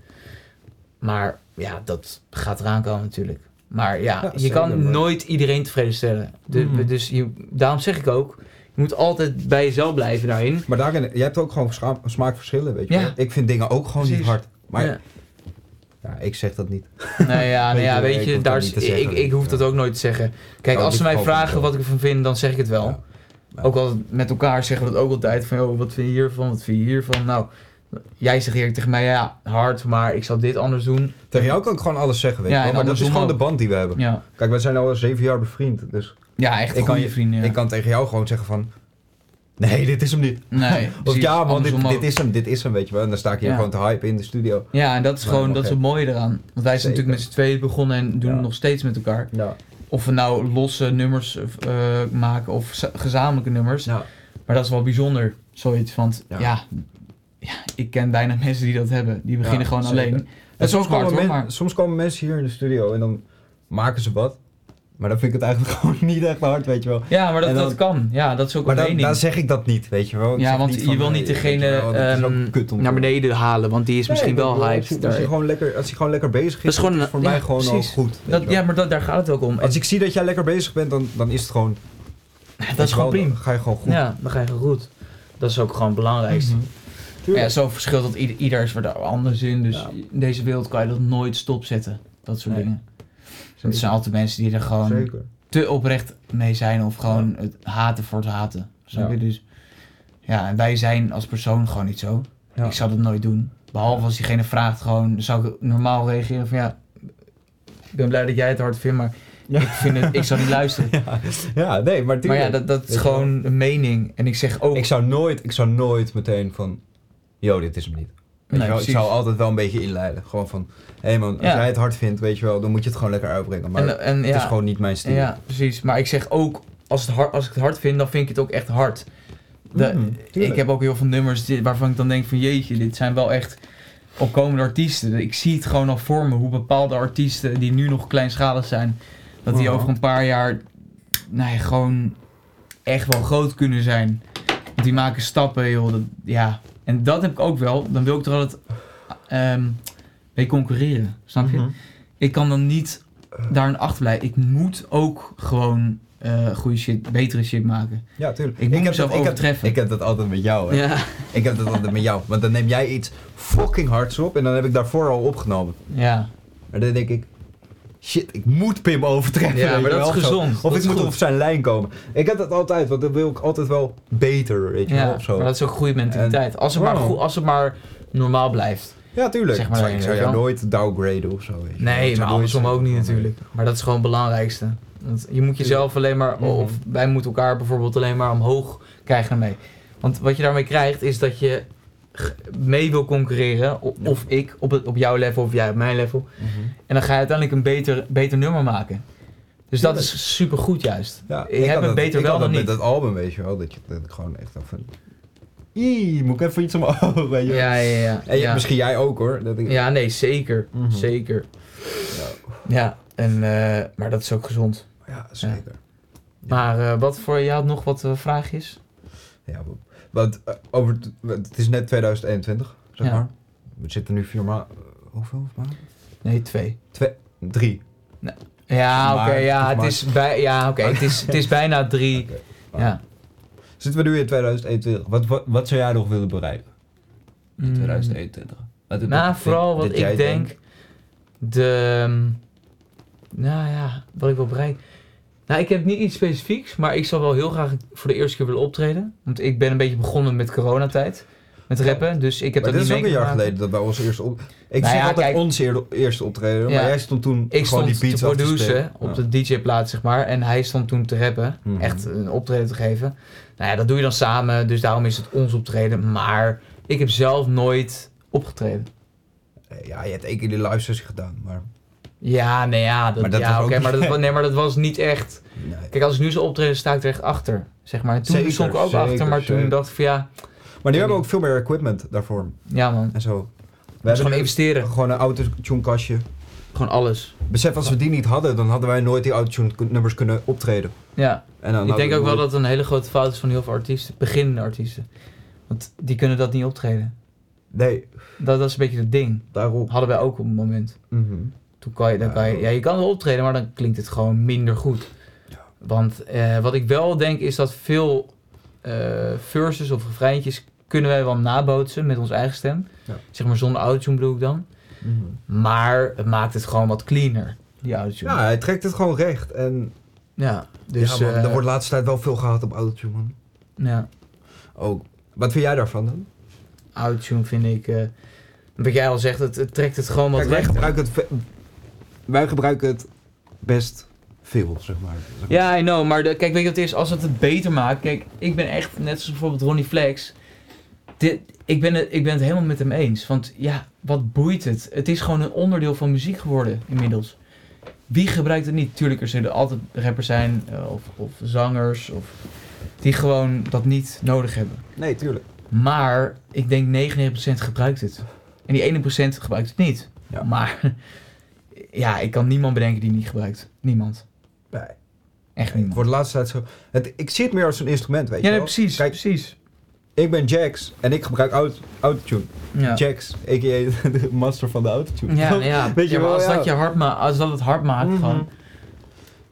Speaker 2: Maar ja, dat gaat eraan komen natuurlijk. Maar ja,
Speaker 3: Ja,
Speaker 2: je
Speaker 3: zeker,
Speaker 2: kan
Speaker 3: maar-
Speaker 2: nooit iedereen tevreden stellen. De-
Speaker 3: Mhm.
Speaker 2: Dus je, daarom zeg ik ook, je moet altijd bij jezelf blijven daarin.
Speaker 3: Maar daarin, je hebt ook gewoon scha- smaakverschillen, weet je
Speaker 2: Ja.
Speaker 3: wel. Ik vind dingen ook gewoon niet
Speaker 2: Precies.
Speaker 3: hard. Maar
Speaker 2: Ja.
Speaker 3: ja, ik zeg dat niet.
Speaker 2: Nou ja, nou ja
Speaker 3: Weet je,
Speaker 2: weet
Speaker 3: ik
Speaker 2: je,
Speaker 3: hoef
Speaker 2: daar
Speaker 3: dat
Speaker 2: is,
Speaker 3: niet te
Speaker 2: ik,
Speaker 3: zeggen.
Speaker 2: ik hoef dat ook nooit te zeggen. Kijk,
Speaker 3: Oh,
Speaker 2: als ze
Speaker 3: dit
Speaker 2: mij
Speaker 3: valt me
Speaker 2: vragen
Speaker 3: wel.
Speaker 2: wat ik ervan vind, dan zeg ik het wel.
Speaker 3: Ja. Ja.
Speaker 2: Ook al met elkaar zeggen we dat ook altijd. Van, joh, wat vind je hiervan, wat vind je hiervan? Nou, jij zegt eerlijk tegen mij, ja, hard, maar ik zal dit anders doen.
Speaker 3: Tegen jou kan ik gewoon alles zeggen, weet je
Speaker 2: Ja,
Speaker 3: wel.
Speaker 2: en
Speaker 3: Maar dat
Speaker 2: andersom
Speaker 3: is gewoon
Speaker 2: ook.
Speaker 3: de band die we hebben.
Speaker 2: Ja,
Speaker 3: Kijk, wij zijn al zeven jaar bevriend. Dus
Speaker 2: ja echt
Speaker 3: Ik kan
Speaker 2: goede
Speaker 3: je-
Speaker 2: vrienden. Ja.
Speaker 3: ik kan tegen jou gewoon zeggen van... Nee, dit is hem niet.
Speaker 2: nee,
Speaker 3: Of
Speaker 2: precies,
Speaker 3: ja, man,
Speaker 2: andersom
Speaker 3: dit, dit
Speaker 2: ook.
Speaker 3: is hem, dit is hem, weet je wel. En dan sta ik hier
Speaker 2: Ja.
Speaker 3: gewoon te hype in de studio.
Speaker 2: Ja, en dat is
Speaker 3: Maar
Speaker 2: gewoon
Speaker 3: dat
Speaker 2: dat
Speaker 3: mag
Speaker 2: is het mooie eraan. Want wij zijn
Speaker 3: Zeker.
Speaker 2: natuurlijk met z'n tweeën begonnen en doen
Speaker 3: Ja.
Speaker 2: het nog steeds met elkaar.
Speaker 3: Ja.
Speaker 2: Of we nou losse nummers eh, maken of sa- gezamenlijke nummers.
Speaker 3: Ja.
Speaker 2: Maar dat is wel bijzonder, zoiets. Want
Speaker 3: Ja.
Speaker 2: ja, ja, ik ken bijna mensen die dat hebben. Die beginnen
Speaker 3: Ja,
Speaker 2: gewoon
Speaker 3: zeker.
Speaker 2: alleen. Dat is ook
Speaker 3: soms,
Speaker 2: hard
Speaker 3: komen
Speaker 2: hoor,
Speaker 3: men-
Speaker 2: maar...
Speaker 3: soms komen mensen hier in de studio en dan maken ze wat. Maar dan vind ik het eigenlijk gewoon niet echt hard, weet je wel.
Speaker 2: Ja, maar dat,
Speaker 3: En dan-
Speaker 2: dat kan. Ja, dat is ook
Speaker 3: Maar
Speaker 2: een
Speaker 3: dan,
Speaker 2: mening.
Speaker 3: dan zeg ik dat niet, weet je wel. Ik
Speaker 2: ja,
Speaker 3: zeg
Speaker 2: want
Speaker 3: van,
Speaker 2: je wil
Speaker 3: nee,
Speaker 2: niet
Speaker 3: weet je
Speaker 2: degene
Speaker 3: wel, dat is ook
Speaker 2: ehm,
Speaker 3: kut om te
Speaker 2: naar
Speaker 3: doen.
Speaker 2: beneden halen, want die is misschien
Speaker 3: Nee,
Speaker 2: wel
Speaker 3: als-
Speaker 2: hyped.
Speaker 3: Als,
Speaker 2: daar.
Speaker 3: je gewoon lekker, als je gewoon lekker bezig is,
Speaker 2: Dat is gewoon een-
Speaker 3: voor
Speaker 2: ja,
Speaker 3: mij gewoon
Speaker 2: precies.
Speaker 3: al goed. weet
Speaker 2: Dat,
Speaker 3: je wel.
Speaker 2: ja, maar dat, daar gaat het ook om. En
Speaker 3: Als ik zie dat jij lekker bezig bent, dan, dan is het gewoon... weet
Speaker 2: dat is
Speaker 3: je wel,
Speaker 2: gewoon prima.
Speaker 3: Dan ga je gewoon goed. Mhm.
Speaker 2: Ja, dan ga je goed. Dat is ook gewoon het belangrijkste. Maar Ja, zo verschilt dat ieder, ieder is weer anders in. Dus
Speaker 3: Ja.
Speaker 2: in deze wereld kan je dat nooit stopzetten. Dat soort
Speaker 3: Nee.
Speaker 2: dingen. Want er zijn altijd mensen die er gewoon
Speaker 3: Zeker.
Speaker 2: te oprecht mee zijn of gewoon het haten voor het haten. Snap
Speaker 3: Ja.
Speaker 2: je? Dus ja, en wij zijn als persoon gewoon niet zo.
Speaker 3: Ja.
Speaker 2: Ik zou dat nooit doen. Behalve als diegene vraagt, gewoon zou ik normaal reageren van ja, ik ben blij dat jij het hard vindt, maar
Speaker 3: Ja.
Speaker 2: ik, vind het, ik zou niet luisteren.
Speaker 3: Ja, nee, maar,
Speaker 2: maar
Speaker 3: tuurlijk.
Speaker 2: ja, dat, dat
Speaker 3: Weet
Speaker 2: is
Speaker 3: je wel.
Speaker 2: gewoon een mening. En ik zeg ook,
Speaker 3: Ik zou nooit, ik zou nooit meteen van, yo, dit is hem niet. Weet
Speaker 2: Nee,
Speaker 3: je wel, ik
Speaker 2: precies.
Speaker 3: zou altijd wel een beetje inleiden. Gewoon van, hé man, als
Speaker 2: Ja.
Speaker 3: jij het hard vindt, weet je wel, dan moet je het gewoon lekker uitbrengen. Maar
Speaker 2: en, en,
Speaker 3: het
Speaker 2: ja,
Speaker 3: is gewoon niet mijn stijl.
Speaker 2: ja, precies. Maar ik zeg ook, als, het hard, als ik het hard vind, dan vind ik het ook echt hard. De-
Speaker 3: Mhm, tuurlijk.
Speaker 2: Ik heb ook heel veel nummers die- waarvan ik dan denk van jeetje, dit zijn wel echt opkomende artiesten. Ik zie het gewoon al voor me hoe bepaalde artiesten die nu nog kleinschalig zijn, dat die
Speaker 3: Ja.
Speaker 2: over een paar jaar nou ja, gewoon echt wel groot kunnen zijn. Want die maken stappen, joh. dat- ja. En dat heb ik ook wel. Dan wil ik er altijd ehm, mee concurreren, snap je?
Speaker 3: Mhm.
Speaker 2: Ik kan dan niet daarin achterblijven. Ik moet ook gewoon eh, goede shit, betere shit maken.
Speaker 3: Ja, tuurlijk.
Speaker 2: Ik moet
Speaker 3: heb
Speaker 2: mezelf
Speaker 3: dat, ik, heb,
Speaker 2: overtreffen.
Speaker 3: ik heb dat altijd met jou. Hè.
Speaker 2: Ja,
Speaker 3: Ik heb dat altijd met jou. Want dan neem jij iets fucking hards op en dan heb ik daarvoor al opgenomen.
Speaker 2: ja.
Speaker 3: En dan denk ik, shit, ik moet Pim overtreffen.
Speaker 2: Ja,
Speaker 3: weet
Speaker 2: maar
Speaker 3: je
Speaker 2: dat
Speaker 3: wel,
Speaker 2: is
Speaker 3: of zo.
Speaker 2: gezond.
Speaker 3: Of
Speaker 2: Dat
Speaker 3: ik
Speaker 2: is
Speaker 3: moet
Speaker 2: goed.
Speaker 3: op zijn lijn komen. Ik heb dat altijd, want dan wil ik altijd wel beter, weet je wel,
Speaker 2: Ja,
Speaker 3: of zo.
Speaker 2: maar dat is ook een goede mentaliteit. als, het maar
Speaker 3: Wow.
Speaker 2: goe- als het maar normaal blijft.
Speaker 3: Ja, tuurlijk.
Speaker 2: Zeg maar
Speaker 3: ik
Speaker 2: dat
Speaker 3: zou
Speaker 2: je
Speaker 3: jou
Speaker 2: wel.
Speaker 3: nooit downgraden of zo. oh, Weet je. wel. Ik
Speaker 2: Nee,
Speaker 3: zou
Speaker 2: maar
Speaker 3: nooit
Speaker 2: andersom
Speaker 3: zeggen
Speaker 2: ook niet
Speaker 3: van,
Speaker 2: natuurlijk. Maar dat is gewoon het belangrijkste. Want je moet jezelf alleen maar,
Speaker 3: Mhm.
Speaker 2: of wij moeten elkaar bijvoorbeeld alleen maar omhoog krijgen daarmee. Want wat je daarmee krijgt is dat je g- mee wil concurreren, o-
Speaker 3: Ja.
Speaker 2: of ik op, het, op jouw level of jij op mijn level.
Speaker 3: nee. Mhm.
Speaker 2: En dan ga je uiteindelijk een beter, beter nummer maken. Dus dat
Speaker 3: Tuurlijk.
Speaker 2: is supergoed juist.
Speaker 3: Ja,
Speaker 2: Ik heb
Speaker 3: had
Speaker 2: het
Speaker 3: dat-
Speaker 2: beter
Speaker 3: ik
Speaker 2: wel
Speaker 3: had
Speaker 2: dan
Speaker 3: dat
Speaker 2: niet.
Speaker 3: Met dat album, weet je wel, dat, je, dat ik gewoon echt even... Ii, moet ik even iets omhoog, weet je wel.
Speaker 2: Ja, ja, ja.
Speaker 3: En je-
Speaker 2: ja.
Speaker 3: misschien jij ook hoor. Dat ik,
Speaker 2: Ja, nee, zeker.
Speaker 3: Mhm.
Speaker 2: Zeker.
Speaker 3: Ja.
Speaker 2: Ja, en, eh, maar dat is ook gezond.
Speaker 3: Ja, zeker.
Speaker 2: Maar eh, wat voor jou nog wat eh, vraagjes?
Speaker 3: Ja, want- want eh, over, het- want het is net 2021, zeg
Speaker 2: Ja.
Speaker 3: maar. We zitten nu vier maanden... hoeveel maanden?
Speaker 2: Nee, twee.
Speaker 3: Twee, drie.
Speaker 2: Ja, oké,
Speaker 3: Maar-
Speaker 2: ja, het
Speaker 3: maar-
Speaker 2: is, bij, ja, oké het, is, het is bijna drie.
Speaker 3: Oké.
Speaker 2: Ja.
Speaker 3: Zitten we nu in 2021. Wat, wat, wat zou jij nog willen bereiken in
Speaker 2: Mm.
Speaker 3: 2021? Wat- wat-
Speaker 2: Nou,
Speaker 3: wat-
Speaker 2: vooral
Speaker 3: dat
Speaker 2: wat
Speaker 3: jij
Speaker 2: ik denk, de, ehm, nou ja, wat ik wil bereiken. Nou, ik heb niet iets specifieks, maar ik zou wel heel graag voor de eerste keer willen optreden. Want ik ben een beetje begonnen met coronatijd. met rappen, dus ik heb
Speaker 3: Maar
Speaker 2: dat
Speaker 3: dit is
Speaker 2: niet
Speaker 3: ook een jaar
Speaker 2: meegemaakt.
Speaker 3: geleden dat wij onze eerste op... Ik
Speaker 2: Nou
Speaker 3: zeg
Speaker 2: ja,
Speaker 3: altijd
Speaker 2: kijk-
Speaker 3: onze eer- eerste optreden, maar
Speaker 2: Ja.
Speaker 3: jij stond toen
Speaker 2: Ik
Speaker 3: gewoon
Speaker 2: stond
Speaker 3: die
Speaker 2: te
Speaker 3: beats af te
Speaker 2: produceren
Speaker 3: spelen.
Speaker 2: op
Speaker 3: Ja.
Speaker 2: de DJ-plaat, zeg maar. En hij stond toen te rappen.
Speaker 3: Mhm.
Speaker 2: Echt een optreden te geven. Nou ja, dat doe je dan samen. Dus daarom is het ons optreden. Maar ik heb zelf nooit opgetreden.
Speaker 3: Ja, je hebt één keer die live sessie gedaan, maar...
Speaker 2: Ja, nee, ja. Dat,
Speaker 3: Maar dat
Speaker 2: ja,
Speaker 3: was ook
Speaker 2: oké, maar,
Speaker 3: niet-
Speaker 2: dat, wa- nee, maar dat was niet echt...
Speaker 3: Nee.
Speaker 2: Kijk, als ik nu zou optreden, sta ik er echt achter. Zeg maar. En toen
Speaker 3: Zeker,
Speaker 2: stond ik ook
Speaker 3: zeker,
Speaker 2: achter. Maar
Speaker 3: zeker.
Speaker 2: toen dacht ik van ja,
Speaker 3: Maar nu hebben we ook veel meer equipment daarvoor
Speaker 2: ja man.
Speaker 3: en zo. We
Speaker 2: Dus
Speaker 3: hebben
Speaker 2: gewoon
Speaker 3: nu
Speaker 2: investeren.
Speaker 3: gewoon een autotune kastje.
Speaker 2: Gewoon alles.
Speaker 3: Besef, als we die niet hadden, dan hadden wij nooit die autotune kun- nummers kunnen optreden.
Speaker 2: Ja.
Speaker 3: En dan
Speaker 2: Ik denk
Speaker 3: hadden
Speaker 2: ook
Speaker 3: we-
Speaker 2: wel dat het een hele grote fout is van heel veel artiesten. Beginnende artiesten. Want die kunnen dat niet optreden.
Speaker 3: Nee,
Speaker 2: Dat, dat is een beetje het ding.
Speaker 3: daarop.
Speaker 2: Hadden wij ook op het moment.
Speaker 3: Mhm.
Speaker 2: Toen kan je, dan kan je, ja, je kan wel optreden, maar dan klinkt het gewoon minder goed. Want eh, wat ik wel denk is dat veel eh verses of refreintjes kunnen wij wel nabootsen met onze eigen stem.
Speaker 3: Ja.
Speaker 2: Zeg maar zonder autotune bedoel ik dan.
Speaker 3: Mhm.
Speaker 2: Maar het maakt het gewoon wat cleaner, die autotune.
Speaker 3: Ja, hij trekt het gewoon recht. En
Speaker 2: Ja, dus...
Speaker 3: ja, man,
Speaker 2: eh,
Speaker 3: er wordt de laatste tijd wel veel gehad op autotune, man.
Speaker 2: ja,
Speaker 3: Ook. Wat vind jij daarvan dan?
Speaker 2: autotune vind ik... eh, wat jij al zegt, het, het trekt het gewoon wat
Speaker 3: Kijk, wij,
Speaker 2: rechter.
Speaker 3: gebruiken het, ve- wij gebruiken het best veel, zeg maar. Zeg maar.
Speaker 2: Ja, I know, maar de, kijk, weet je wat het is? Als het het beter maakt, kijk, ik ben echt, net zoals bijvoorbeeld Ronnie Flex, dit, ik, ben het, ik ben het helemaal met hem eens. Want ja, wat boeit het? Het is gewoon een onderdeel van muziek geworden inmiddels. Wie gebruikt het niet? Tuurlijk, er zullen altijd rappers zijn, eh, of, of zangers, of, die gewoon dat niet nodig hebben.
Speaker 3: Nee, tuurlijk.
Speaker 2: Maar ik denk 99% gebruikt het. En die 1% gebruikt het niet.
Speaker 3: Ja.
Speaker 2: Maar ja, ik kan niemand bedenken die het niet gebruikt. Niemand.
Speaker 3: Nee.
Speaker 2: Echt
Speaker 3: Het
Speaker 2: niemand.
Speaker 3: wordt de laatste tijd zo... Het, ik zie het meer als een instrument, weet
Speaker 2: Ja,
Speaker 3: je
Speaker 2: nee,
Speaker 3: wel?
Speaker 2: precies.
Speaker 3: Kijk,
Speaker 2: precies.
Speaker 3: ik ben Jax en ik gebruik aut- autotune.
Speaker 2: Ja.
Speaker 3: Jax, a.k.a. de master van de autotune.
Speaker 2: Ja, nou ja.
Speaker 3: Weet je
Speaker 2: Ja, maar
Speaker 3: wel,
Speaker 2: als,
Speaker 3: ja.
Speaker 2: dat je hard ma- als dat het hard maakt,
Speaker 3: Mhm.
Speaker 2: gewoon,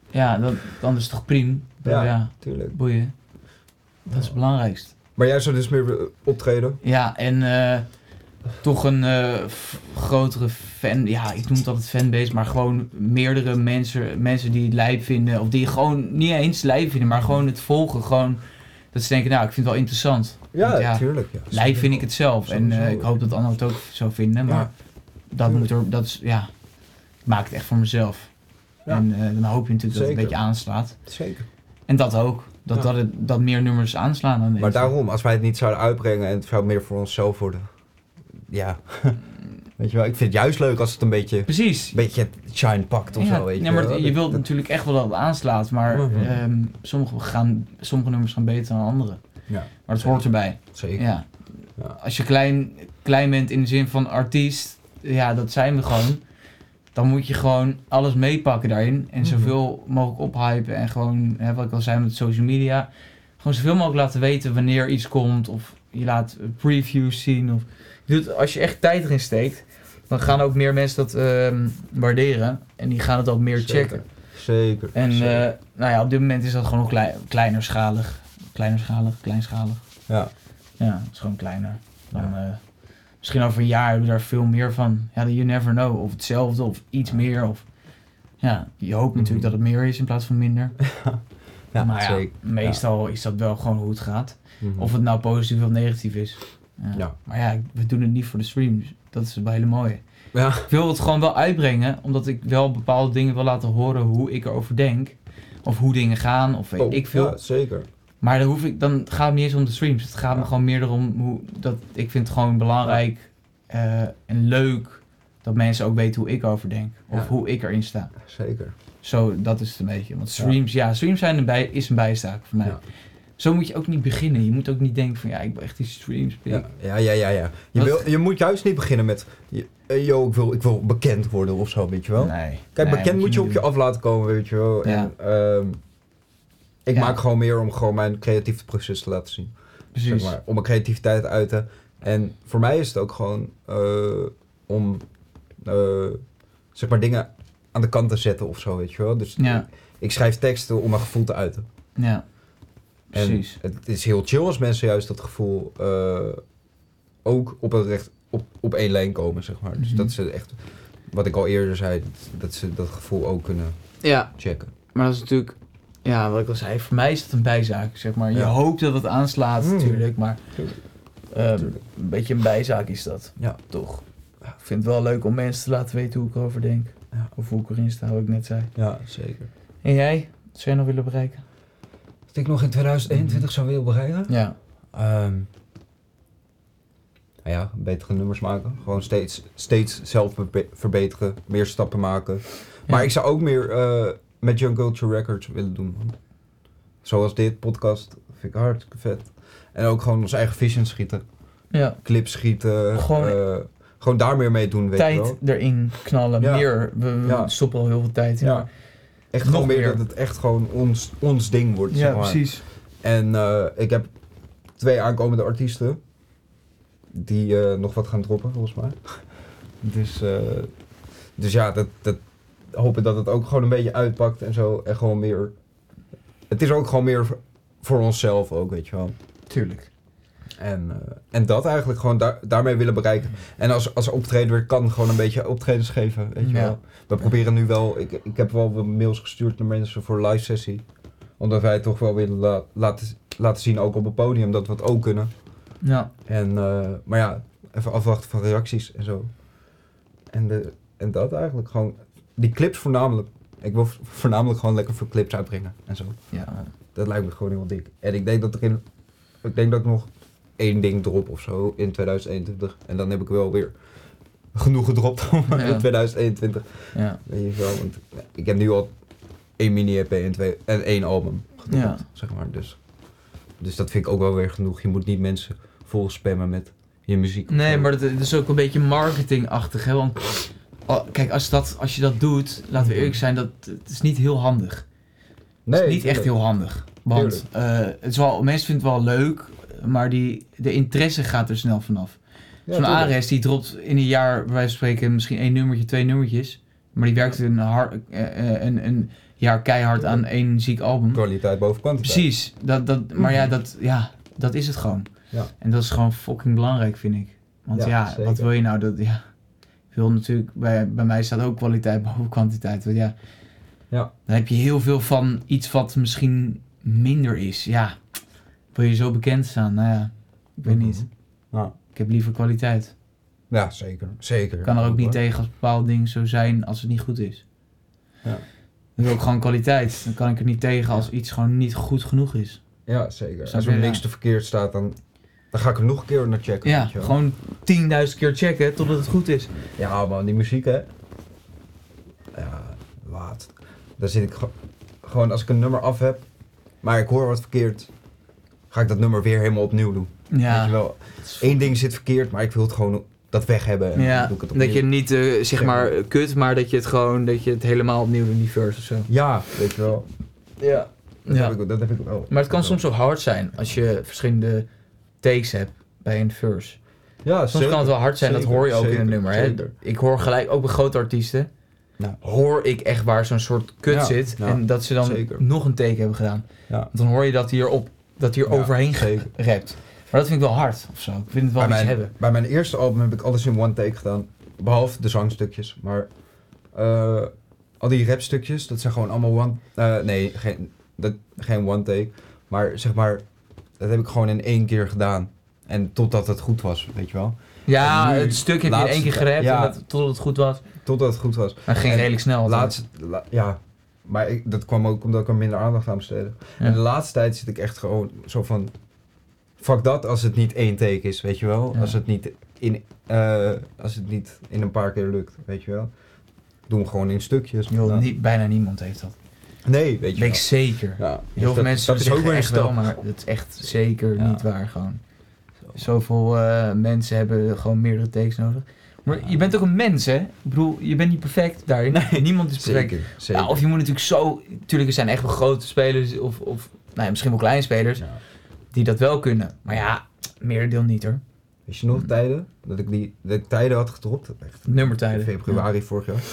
Speaker 2: ja, dan, dan is het toch prima.
Speaker 3: Ja.
Speaker 2: Ja.
Speaker 3: Tuurlijk.
Speaker 2: boeien. Dat is het belangrijkste.
Speaker 3: Maar jij zou dus meer eh, optreden.
Speaker 2: Ja, en eh, toch een eh, f- grotere fan, ja, ik noem het altijd fanbase, maar gewoon meerdere mensen, mensen die het lijp vinden, of die gewoon niet eens lijp vinden, maar gewoon het volgen, gewoon, dat ze denken, nou, ik vind het wel interessant.
Speaker 3: Ja,
Speaker 2: Want ja,
Speaker 3: tuurlijk. Ja.
Speaker 2: Lijp vind ik het zelf, en eh,
Speaker 3: Sowieso.
Speaker 2: ik hoop dat anderen het ook zo vinden, maar...
Speaker 3: Ja.
Speaker 2: dat moet er, dat is, ja, ik maak het echt voor mezelf.
Speaker 3: Ja.
Speaker 2: En eh, dan hoop je natuurlijk dat het
Speaker 3: Zeker.
Speaker 2: een beetje aanslaat.
Speaker 3: Zeker.
Speaker 2: En dat ook. Dat,
Speaker 3: Ja.
Speaker 2: dat, het, dat meer nummers aanslaan dan
Speaker 3: Maar
Speaker 2: deze.
Speaker 3: daarom, als wij het niet zouden uitbrengen en het zou meer voor onszelf worden. Ja. weet je wel, ik vind het juist leuk als het een beetje, een
Speaker 2: Precies.
Speaker 3: beetje het shine pakt of
Speaker 2: Ja,
Speaker 3: zo. Weet
Speaker 2: nee, maar
Speaker 3: wel.
Speaker 2: je wilt natuurlijk echt wel dat het aanslaat, maar
Speaker 3: Mhm.
Speaker 2: ehm, sommige, gaan, sommige nummers gaan beter dan andere.
Speaker 3: Ja,
Speaker 2: Maar dat hoort erbij.
Speaker 3: zeker.
Speaker 2: Ja.
Speaker 3: Ja.
Speaker 2: Als je klein, klein bent in de zin van artiest, ja, dat zijn we gewoon. Dan moet je gewoon alles meepakken daarin. En
Speaker 3: Mhm.
Speaker 2: zoveel mogelijk ophypen. En gewoon, hè, wat ik al zei met social media. Gewoon zoveel mogelijk laten weten wanneer iets komt. Of je laat eh, previews zien. Of, je doet, als je echt tijd erin steekt, dan gaan ook meer mensen dat ehm, waarderen. En die gaan het ook meer
Speaker 3: Zeker.
Speaker 2: checken.
Speaker 3: Zeker.
Speaker 2: En eh,
Speaker 3: zeker.
Speaker 2: nou ja, op dit moment is dat gewoon nog klei- kleinerschalig. Kleinerschalig, kleinschalig.
Speaker 3: ja.
Speaker 2: Ja, het is gewoon kleiner. Dan, eh, misschien over een jaar hebben we daar veel meer van. Ja, you never know. Of hetzelfde, of iets meer. Of, ja, je hoopt natuurlijk dat het meer is in plaats van minder.
Speaker 3: Mhm. ja,
Speaker 2: maar ja,
Speaker 3: zeker.
Speaker 2: meestal is dat wel gewoon hoe het gaat.
Speaker 3: Mhm.
Speaker 2: Of het nou positief of negatief is. Ja.
Speaker 3: Ja.
Speaker 2: Maar ja, we doen het niet voor de streams. Dat is het hele mooie.
Speaker 3: Ja.
Speaker 2: Ik wil het gewoon wel uitbrengen, omdat ik wel bepaalde dingen wil laten horen hoe ik erover denk. Of hoe dingen gaan, of weet
Speaker 3: Oh,
Speaker 2: ik veel.
Speaker 3: ja, zeker.
Speaker 2: Maar dan, hoef ik, dan gaat het niet eens om de streams. Het gaat
Speaker 3: Ja.
Speaker 2: me gewoon meer erom hoe dat ik vind het gewoon belangrijk eh, en leuk dat mensen ook weten hoe ik erover denk. Of
Speaker 3: Ja.
Speaker 2: hoe ik erin sta.
Speaker 3: Zeker.
Speaker 2: Zo, dat is het een beetje. Want streams, ja, streams zijn een bij, is een bijstaak voor mij.
Speaker 3: Ja.
Speaker 2: Zo moet je ook niet beginnen. Je moet ook niet denken van ja, ik wil echt die streams. pikken.
Speaker 3: Ja, ja, ja, ja. ja. Je,
Speaker 2: Dat-
Speaker 3: wil, je moet juist niet beginnen met. je- eh, Yo, ik wil, ik wil bekend worden of zo, weet je wel.
Speaker 2: Nee.
Speaker 3: Kijk,
Speaker 2: Nee,
Speaker 3: bekend moet je op
Speaker 2: niet
Speaker 3: je
Speaker 2: doen.
Speaker 3: af laten komen, weet je wel.
Speaker 2: Ja.
Speaker 3: En, ehm, ik
Speaker 2: Ja.
Speaker 3: maak gewoon meer om gewoon mijn creatieve proces te laten zien.
Speaker 2: Precies.
Speaker 3: Zeg maar, om mijn creativiteit te uiten. En voor mij is het ook gewoon eh, om eh, zeg maar dingen aan de kant te zetten of zo, weet je wel. Dus
Speaker 2: Ja.
Speaker 3: ik, ik schrijf teksten om mijn gevoel te uiten.
Speaker 2: Ja.
Speaker 3: En
Speaker 2: Precies.
Speaker 3: het is heel chill als mensen juist dat gevoel eh, ook op, een recht, op, op één lijn komen, zeg maar. Dus
Speaker 2: Mhm.
Speaker 3: dat ze echt, wat ik al eerder zei, dat- dat ze dat gevoel ook kunnen
Speaker 2: Ja,
Speaker 3: checken.
Speaker 2: maar dat is natuurlijk. Ja, Hmm. wat ik al zei, voor mij is het een bijzaak, zeg maar. Je
Speaker 3: Ja.
Speaker 2: hoopt dat het aanslaat,
Speaker 3: Mm.
Speaker 2: natuurlijk, maar... Eh, een beetje een bijzaak is dat.
Speaker 6: Ja.
Speaker 2: Toch? Ik vind het wel leuk om mensen te laten weten hoe ik erover denk.
Speaker 6: Ja.
Speaker 2: Of hoe ik erin sta, wat ik net zei.
Speaker 3: Ja, zeker.
Speaker 2: En jij? Wat zou je nog willen bereiken?
Speaker 3: Wat ik nog in 2021 zou willen bereiken?
Speaker 2: Ja.
Speaker 3: Ehm, nou ja, betere nummers maken. Gewoon steeds, steeds zelf verbe- verbeteren. Meer stappen maken. Maar ik zou ook meer eh, met Young Culture Records willen doen. man. Zoals dit podcast. Vind ik hartstikke vet. En ook gewoon onze eigen vision schieten.
Speaker 2: Ja.
Speaker 3: Clips schieten.
Speaker 2: Gewoon-
Speaker 3: Gewoon, gewoon daar meer mee doen, weet je
Speaker 2: tijd
Speaker 3: wel.
Speaker 2: erin knallen.
Speaker 3: Ja.
Speaker 2: Meer. We, we
Speaker 3: Ja.
Speaker 2: stoppen al heel veel tijd in.
Speaker 3: Ja. Echt
Speaker 2: Nog
Speaker 3: gewoon meer
Speaker 2: meer.
Speaker 3: dat het echt gewoon ons, ons ding wordt. zeg maar. En eh, ik heb twee aankomende artiesten die eh, nog wat gaan droppen, volgens mij. Dus, eh, dus ja, dat, dat, hopen dat het ook gewoon een beetje uitpakt en zo. En gewoon meer. Het is ook gewoon meer voor- voor onszelf ook, weet je wel.
Speaker 2: Tuurlijk.
Speaker 3: En, eh, en dat eigenlijk gewoon daar, daarmee willen bereiken. En als, als optreden weer kan, gewoon een beetje optredens geven, weet je
Speaker 2: Ja.
Speaker 3: wel. We proberen nu wel, ik, ik heb wel wat mails gestuurd naar mensen voor live sessie. Omdat wij het toch wel willen la- laten, laten zien, ook op het podium, dat we het ook kunnen.
Speaker 2: Ja.
Speaker 3: En, eh, maar ja, even afwachten van reacties en zo. En, de, en dat eigenlijk gewoon, die clips voornamelijk. Ik wil vo- voornamelijk gewoon lekker voor clips uitbrengen en zo.
Speaker 2: Ja.
Speaker 3: Dat lijkt me gewoon heel dik. En ik denk dat er in. Ik denk dat ik nog één ding drop of zo in 2021. En dan heb ik wel weer genoeg gedropt om
Speaker 2: Ja.
Speaker 3: in 2021.
Speaker 2: Ja.
Speaker 3: Weet je wel. Want ik heb nu al één mini-EP en, twee, en één album gedropt.
Speaker 2: Ja.
Speaker 3: Zeg maar. Dus, dus dat vind ik ook wel weer genoeg. Je moet niet mensen vol spammen met je muziek. of
Speaker 6: Nee,
Speaker 3: zo.
Speaker 6: maar dat, dat is ook een beetje marketingachtig, hè? Want oh, kijk, als, dat, als je dat doet, laten we eerlijk zijn, dat het is niet heel handig.
Speaker 3: Nee,
Speaker 6: het is niet echt heel handig. Want eh, het is wel, mensen vinden het wel leuk, maar die, de interesse gaat er snel vanaf. Zo'n Ares die dropt in een jaar, bij wijze van spreken, misschien één nummertje, twee nummertjes. Maar die werkt een, har- eh, eh, een, een jaar keihard aan één ziek album.
Speaker 3: Kwaliteit boven kwantiteit.
Speaker 6: Precies, dat, dat, maar ja dat, ja, dat is het gewoon.
Speaker 3: Ja.
Speaker 6: En dat is gewoon fucking belangrijk, vind ik. Want
Speaker 3: Ja,
Speaker 6: ja,
Speaker 3: zeker.
Speaker 6: wat wil je nou? Dat, ja. Ik wil natuurlijk, bij, bij mij staat ook kwaliteit boven kwantiteit. Want ja,
Speaker 3: Ja.
Speaker 6: dan heb je heel veel van iets wat misschien minder is. Ja, wil je zo bekend staan? Nou ja, ik weet
Speaker 3: Mhm.
Speaker 6: niet.
Speaker 3: Ja.
Speaker 6: Ik heb liever kwaliteit.
Speaker 3: Ja, zeker. Zeker.
Speaker 6: Ik kan er ook niet
Speaker 3: hoor.
Speaker 6: tegen als bepaalde dingen zo zijn als het niet goed is.
Speaker 3: Ja.
Speaker 6: Dan wil ik gewoon kwaliteit. Dan kan ik er niet tegen als iets gewoon niet goed genoeg is.
Speaker 3: Ja, zeker.
Speaker 6: Snap
Speaker 3: Als er
Speaker 6: je?
Speaker 3: niks
Speaker 6: Ja.
Speaker 3: te verkeerd staat, dan, dan ga ik hem nog een keer naar checken.
Speaker 6: Ja,
Speaker 3: weet je wel.
Speaker 6: gewoon 10.000 keer checken totdat het goed is.
Speaker 3: Ja, man, die muziek, hè. Ja, laat. Daar zit ik ge- gewoon, als ik een nummer af heb, maar ik hoor wat verkeerd, ga ik dat nummer weer helemaal opnieuw doen. Weet je
Speaker 6: Ja,
Speaker 3: wel, één ding zit verkeerd, maar ik wil het gewoon dat weg hebben. En dan
Speaker 6: ja.
Speaker 3: doe ik eh, het
Speaker 6: dat je
Speaker 3: opnieuw.
Speaker 6: niet eh, zeg
Speaker 3: Ja.
Speaker 6: maar eh, kut, maar dat je het gewoon, dat je het helemaal opnieuw doet, die verse of zo.
Speaker 3: Ja, weet je wel.
Speaker 6: Ja.
Speaker 3: Dat,
Speaker 6: ja.
Speaker 3: Heb ik, dat heb ik wel.
Speaker 2: Maar het kan soms ook hard zijn als je verschillende takes hebt bij een verse.
Speaker 3: Ja,
Speaker 2: Soms kan het wel hard zijn, dat
Speaker 3: zeker,
Speaker 2: hoor je ook in een
Speaker 3: zeker,
Speaker 2: nummer. Hè?
Speaker 3: zeker.
Speaker 2: Ik hoor gelijk, ook bij grote artiesten,
Speaker 3: Ja.
Speaker 2: hoor ik echt waar zo'n soort kut
Speaker 3: Ja,
Speaker 2: zit.
Speaker 3: ja,
Speaker 2: en dat ze dan
Speaker 3: zeker.
Speaker 2: nog een take hebben gedaan.
Speaker 3: Ja.
Speaker 2: Want dan hoor je dat hier, op, dat hier
Speaker 3: Ja,
Speaker 2: overheen
Speaker 3: zeker.
Speaker 2: rapt. Maar dat vind ik wel hard of zo. Ik vind het wel
Speaker 3: bij,
Speaker 2: iets
Speaker 3: mijn,
Speaker 2: hebben.
Speaker 3: bij mijn eerste album heb ik alles in one take gedaan. Behalve de zangstukjes. Maar eh, al die rapstukjes, dat zijn gewoon allemaal one... eh, nee, geen, dat, geen one take. Maar zeg maar, dat heb ik gewoon in één keer gedaan. En totdat het goed was, weet je wel.
Speaker 2: Ja,
Speaker 3: En nu,
Speaker 2: het stuk heb je in één keer
Speaker 3: laatste-
Speaker 2: gerapt
Speaker 3: ja.
Speaker 2: en dat- totdat het goed was.
Speaker 3: Totdat het goed was.
Speaker 2: Maar het ging
Speaker 3: En
Speaker 2: redelijk snel. altijd.
Speaker 3: Laatst, la- ja. Maar ik, dat kwam ook omdat ik er minder aandacht aan besteedde.
Speaker 2: Ja.
Speaker 3: En de laatste tijd zit ik echt gewoon zo van... Fuck dat als het niet één take is, weet je wel?
Speaker 2: Ja.
Speaker 3: Als, het niet in, eh, als het niet in een paar keer lukt, weet je wel? Doe hem gewoon in stukjes.
Speaker 2: Joh,
Speaker 3: Nou,
Speaker 2: niet- bijna niemand heeft dat.
Speaker 3: Nee, weet
Speaker 2: Dat
Speaker 3: je
Speaker 2: weet
Speaker 3: wel.
Speaker 2: ik zeker.
Speaker 3: Ja, dus
Speaker 2: Heel veel
Speaker 3: dat-
Speaker 2: mensen
Speaker 3: Dat is ook weer een
Speaker 2: echt wel,
Speaker 3: stap.
Speaker 2: maar dat is echt zeker
Speaker 3: Ja.
Speaker 2: niet waar gewoon. Zoveel eh, mensen hebben gewoon meerdere takes nodig. Maar
Speaker 3: Ja.
Speaker 2: je bent ook een mens, hè? Ik bedoel, je bent niet perfect daarin. Niemand is perfect.
Speaker 3: Zeker, zeker.
Speaker 2: Ja, of je moet natuurlijk zo... Tuurlijk, er zijn echt wel grote spelers of, of nou ja, misschien wel kleine spelers
Speaker 3: Ja.
Speaker 2: die dat wel kunnen. Maar ja, merendeel niet hoor.
Speaker 3: Weet je nog
Speaker 2: Hm.
Speaker 3: tijden? Dat ik die dat ik tijden had gedropt. Echt in
Speaker 2: Nummertijden.
Speaker 3: februari vorig jaar.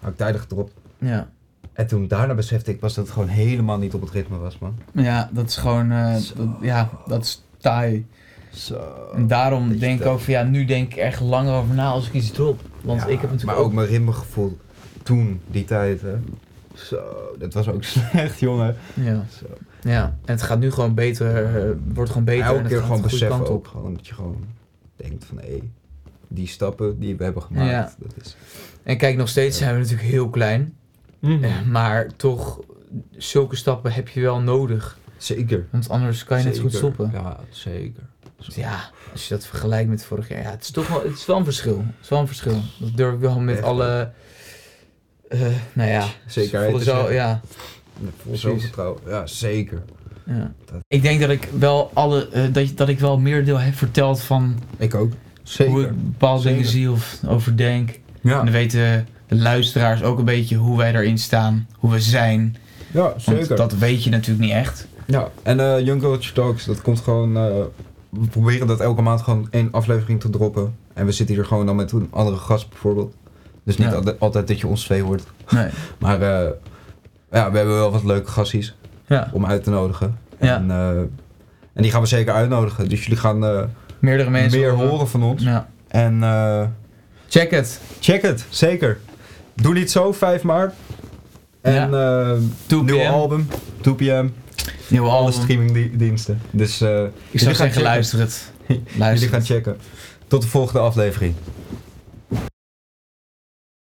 Speaker 3: Had ik tijden gedropt.
Speaker 2: Ja.
Speaker 3: En toen daarna besefte ik pas dat het gewoon helemaal niet op het ritme was, man.
Speaker 2: ja, dat is gewoon... eh,
Speaker 3: Zo.
Speaker 2: dat- ja, dat is taai.
Speaker 3: Zo.
Speaker 2: En daarom
Speaker 3: Oh, Dat je
Speaker 2: denk ik
Speaker 3: dat-
Speaker 2: ook van ja, nu denk ik echt langer over na als ik iets drop. Want
Speaker 3: Ja,
Speaker 2: ik heb natuurlijk
Speaker 3: Maar ook mijn ritmegevoel toen, die tijd, hè. Zo, dat was ook slecht, jongen.
Speaker 2: Ja.
Speaker 3: Zo.
Speaker 2: ja. En het gaat nu gewoon beter, eh, wordt gewoon beter. en
Speaker 3: Elke
Speaker 2: het
Speaker 3: keer
Speaker 2: gaat
Speaker 3: gewoon
Speaker 2: de goede
Speaker 3: beseffen
Speaker 2: kant
Speaker 3: ook. Gewoon dat je gewoon denkt van, hé, die stappen die we hebben gemaakt, dat is...
Speaker 2: En kijk, nog steeds zijn we natuurlijk heel klein.
Speaker 3: Ja.
Speaker 2: Eh, Maar toch, zulke stappen heb je wel nodig.
Speaker 3: Zeker.
Speaker 2: Want anders kan je net zo goed
Speaker 3: Zeker.
Speaker 2: stoppen.
Speaker 3: Ja, zeker.
Speaker 2: Ja, als je dat vergelijkt met vorig jaar. Ja, het is toch wel, het is wel een verschil. Het is wel een verschil. Dat durf ik wel met
Speaker 3: Echt
Speaker 2: alle... eh, nou ja,
Speaker 3: Zekerheid
Speaker 2: voelde
Speaker 3: te
Speaker 2: zo,
Speaker 3: zeggen.
Speaker 2: ja,
Speaker 3: Vol
Speaker 2: Precies.
Speaker 3: zelfvertrouwen. Ja, zeker.
Speaker 2: ja.
Speaker 3: Dat-
Speaker 2: Ik denk dat ik wel alle, eh, dat, je- dat ik wel meer deel heb verteld van
Speaker 3: Ik ook. Zeker.
Speaker 2: hoe ik bepaalde dingen
Speaker 3: Zeker.
Speaker 2: zie of over denk. En
Speaker 3: Ja,
Speaker 2: dan weten de luisteraars ook een beetje hoe wij daarin staan, hoe we zijn.
Speaker 3: ja
Speaker 2: Want
Speaker 3: zeker.
Speaker 2: dat weet je natuurlijk niet echt.
Speaker 3: Ja, en eh Young Culture Talks, dat komt gewoon... eh, we proberen dat elke maand gewoon één aflevering te droppen. En we zitten hier gewoon dan met een andere gast bijvoorbeeld. Dus niet
Speaker 2: Ja.
Speaker 3: altijd, altijd dat je ons twee hoort.
Speaker 2: Nee.
Speaker 3: Maar eh, ja, we hebben wel wat leuke gasties
Speaker 2: Ja,
Speaker 3: om uit te nodigen.
Speaker 2: Ja.
Speaker 3: En, eh, en die gaan we zeker uitnodigen. Dus jullie gaan eh,
Speaker 2: meerdere mensen.
Speaker 3: meer horen van ons.
Speaker 2: Ja.
Speaker 3: En eh,
Speaker 2: Check het.
Speaker 3: check het, zeker. Doe niet zo, 5 maart. En eh
Speaker 2: 2
Speaker 3: nieuw
Speaker 2: PM.
Speaker 3: album, 2 pm.
Speaker 2: Nieuwe
Speaker 3: Alle
Speaker 2: album.
Speaker 3: streamingdiensten. Dus eh,
Speaker 2: Ik
Speaker 3: Jullie gaan
Speaker 2: zou zeggen,
Speaker 3: checken.
Speaker 2: luister het.
Speaker 3: jullie
Speaker 2: Luister
Speaker 3: gaan
Speaker 2: het.
Speaker 3: checken. Tot de volgende aflevering.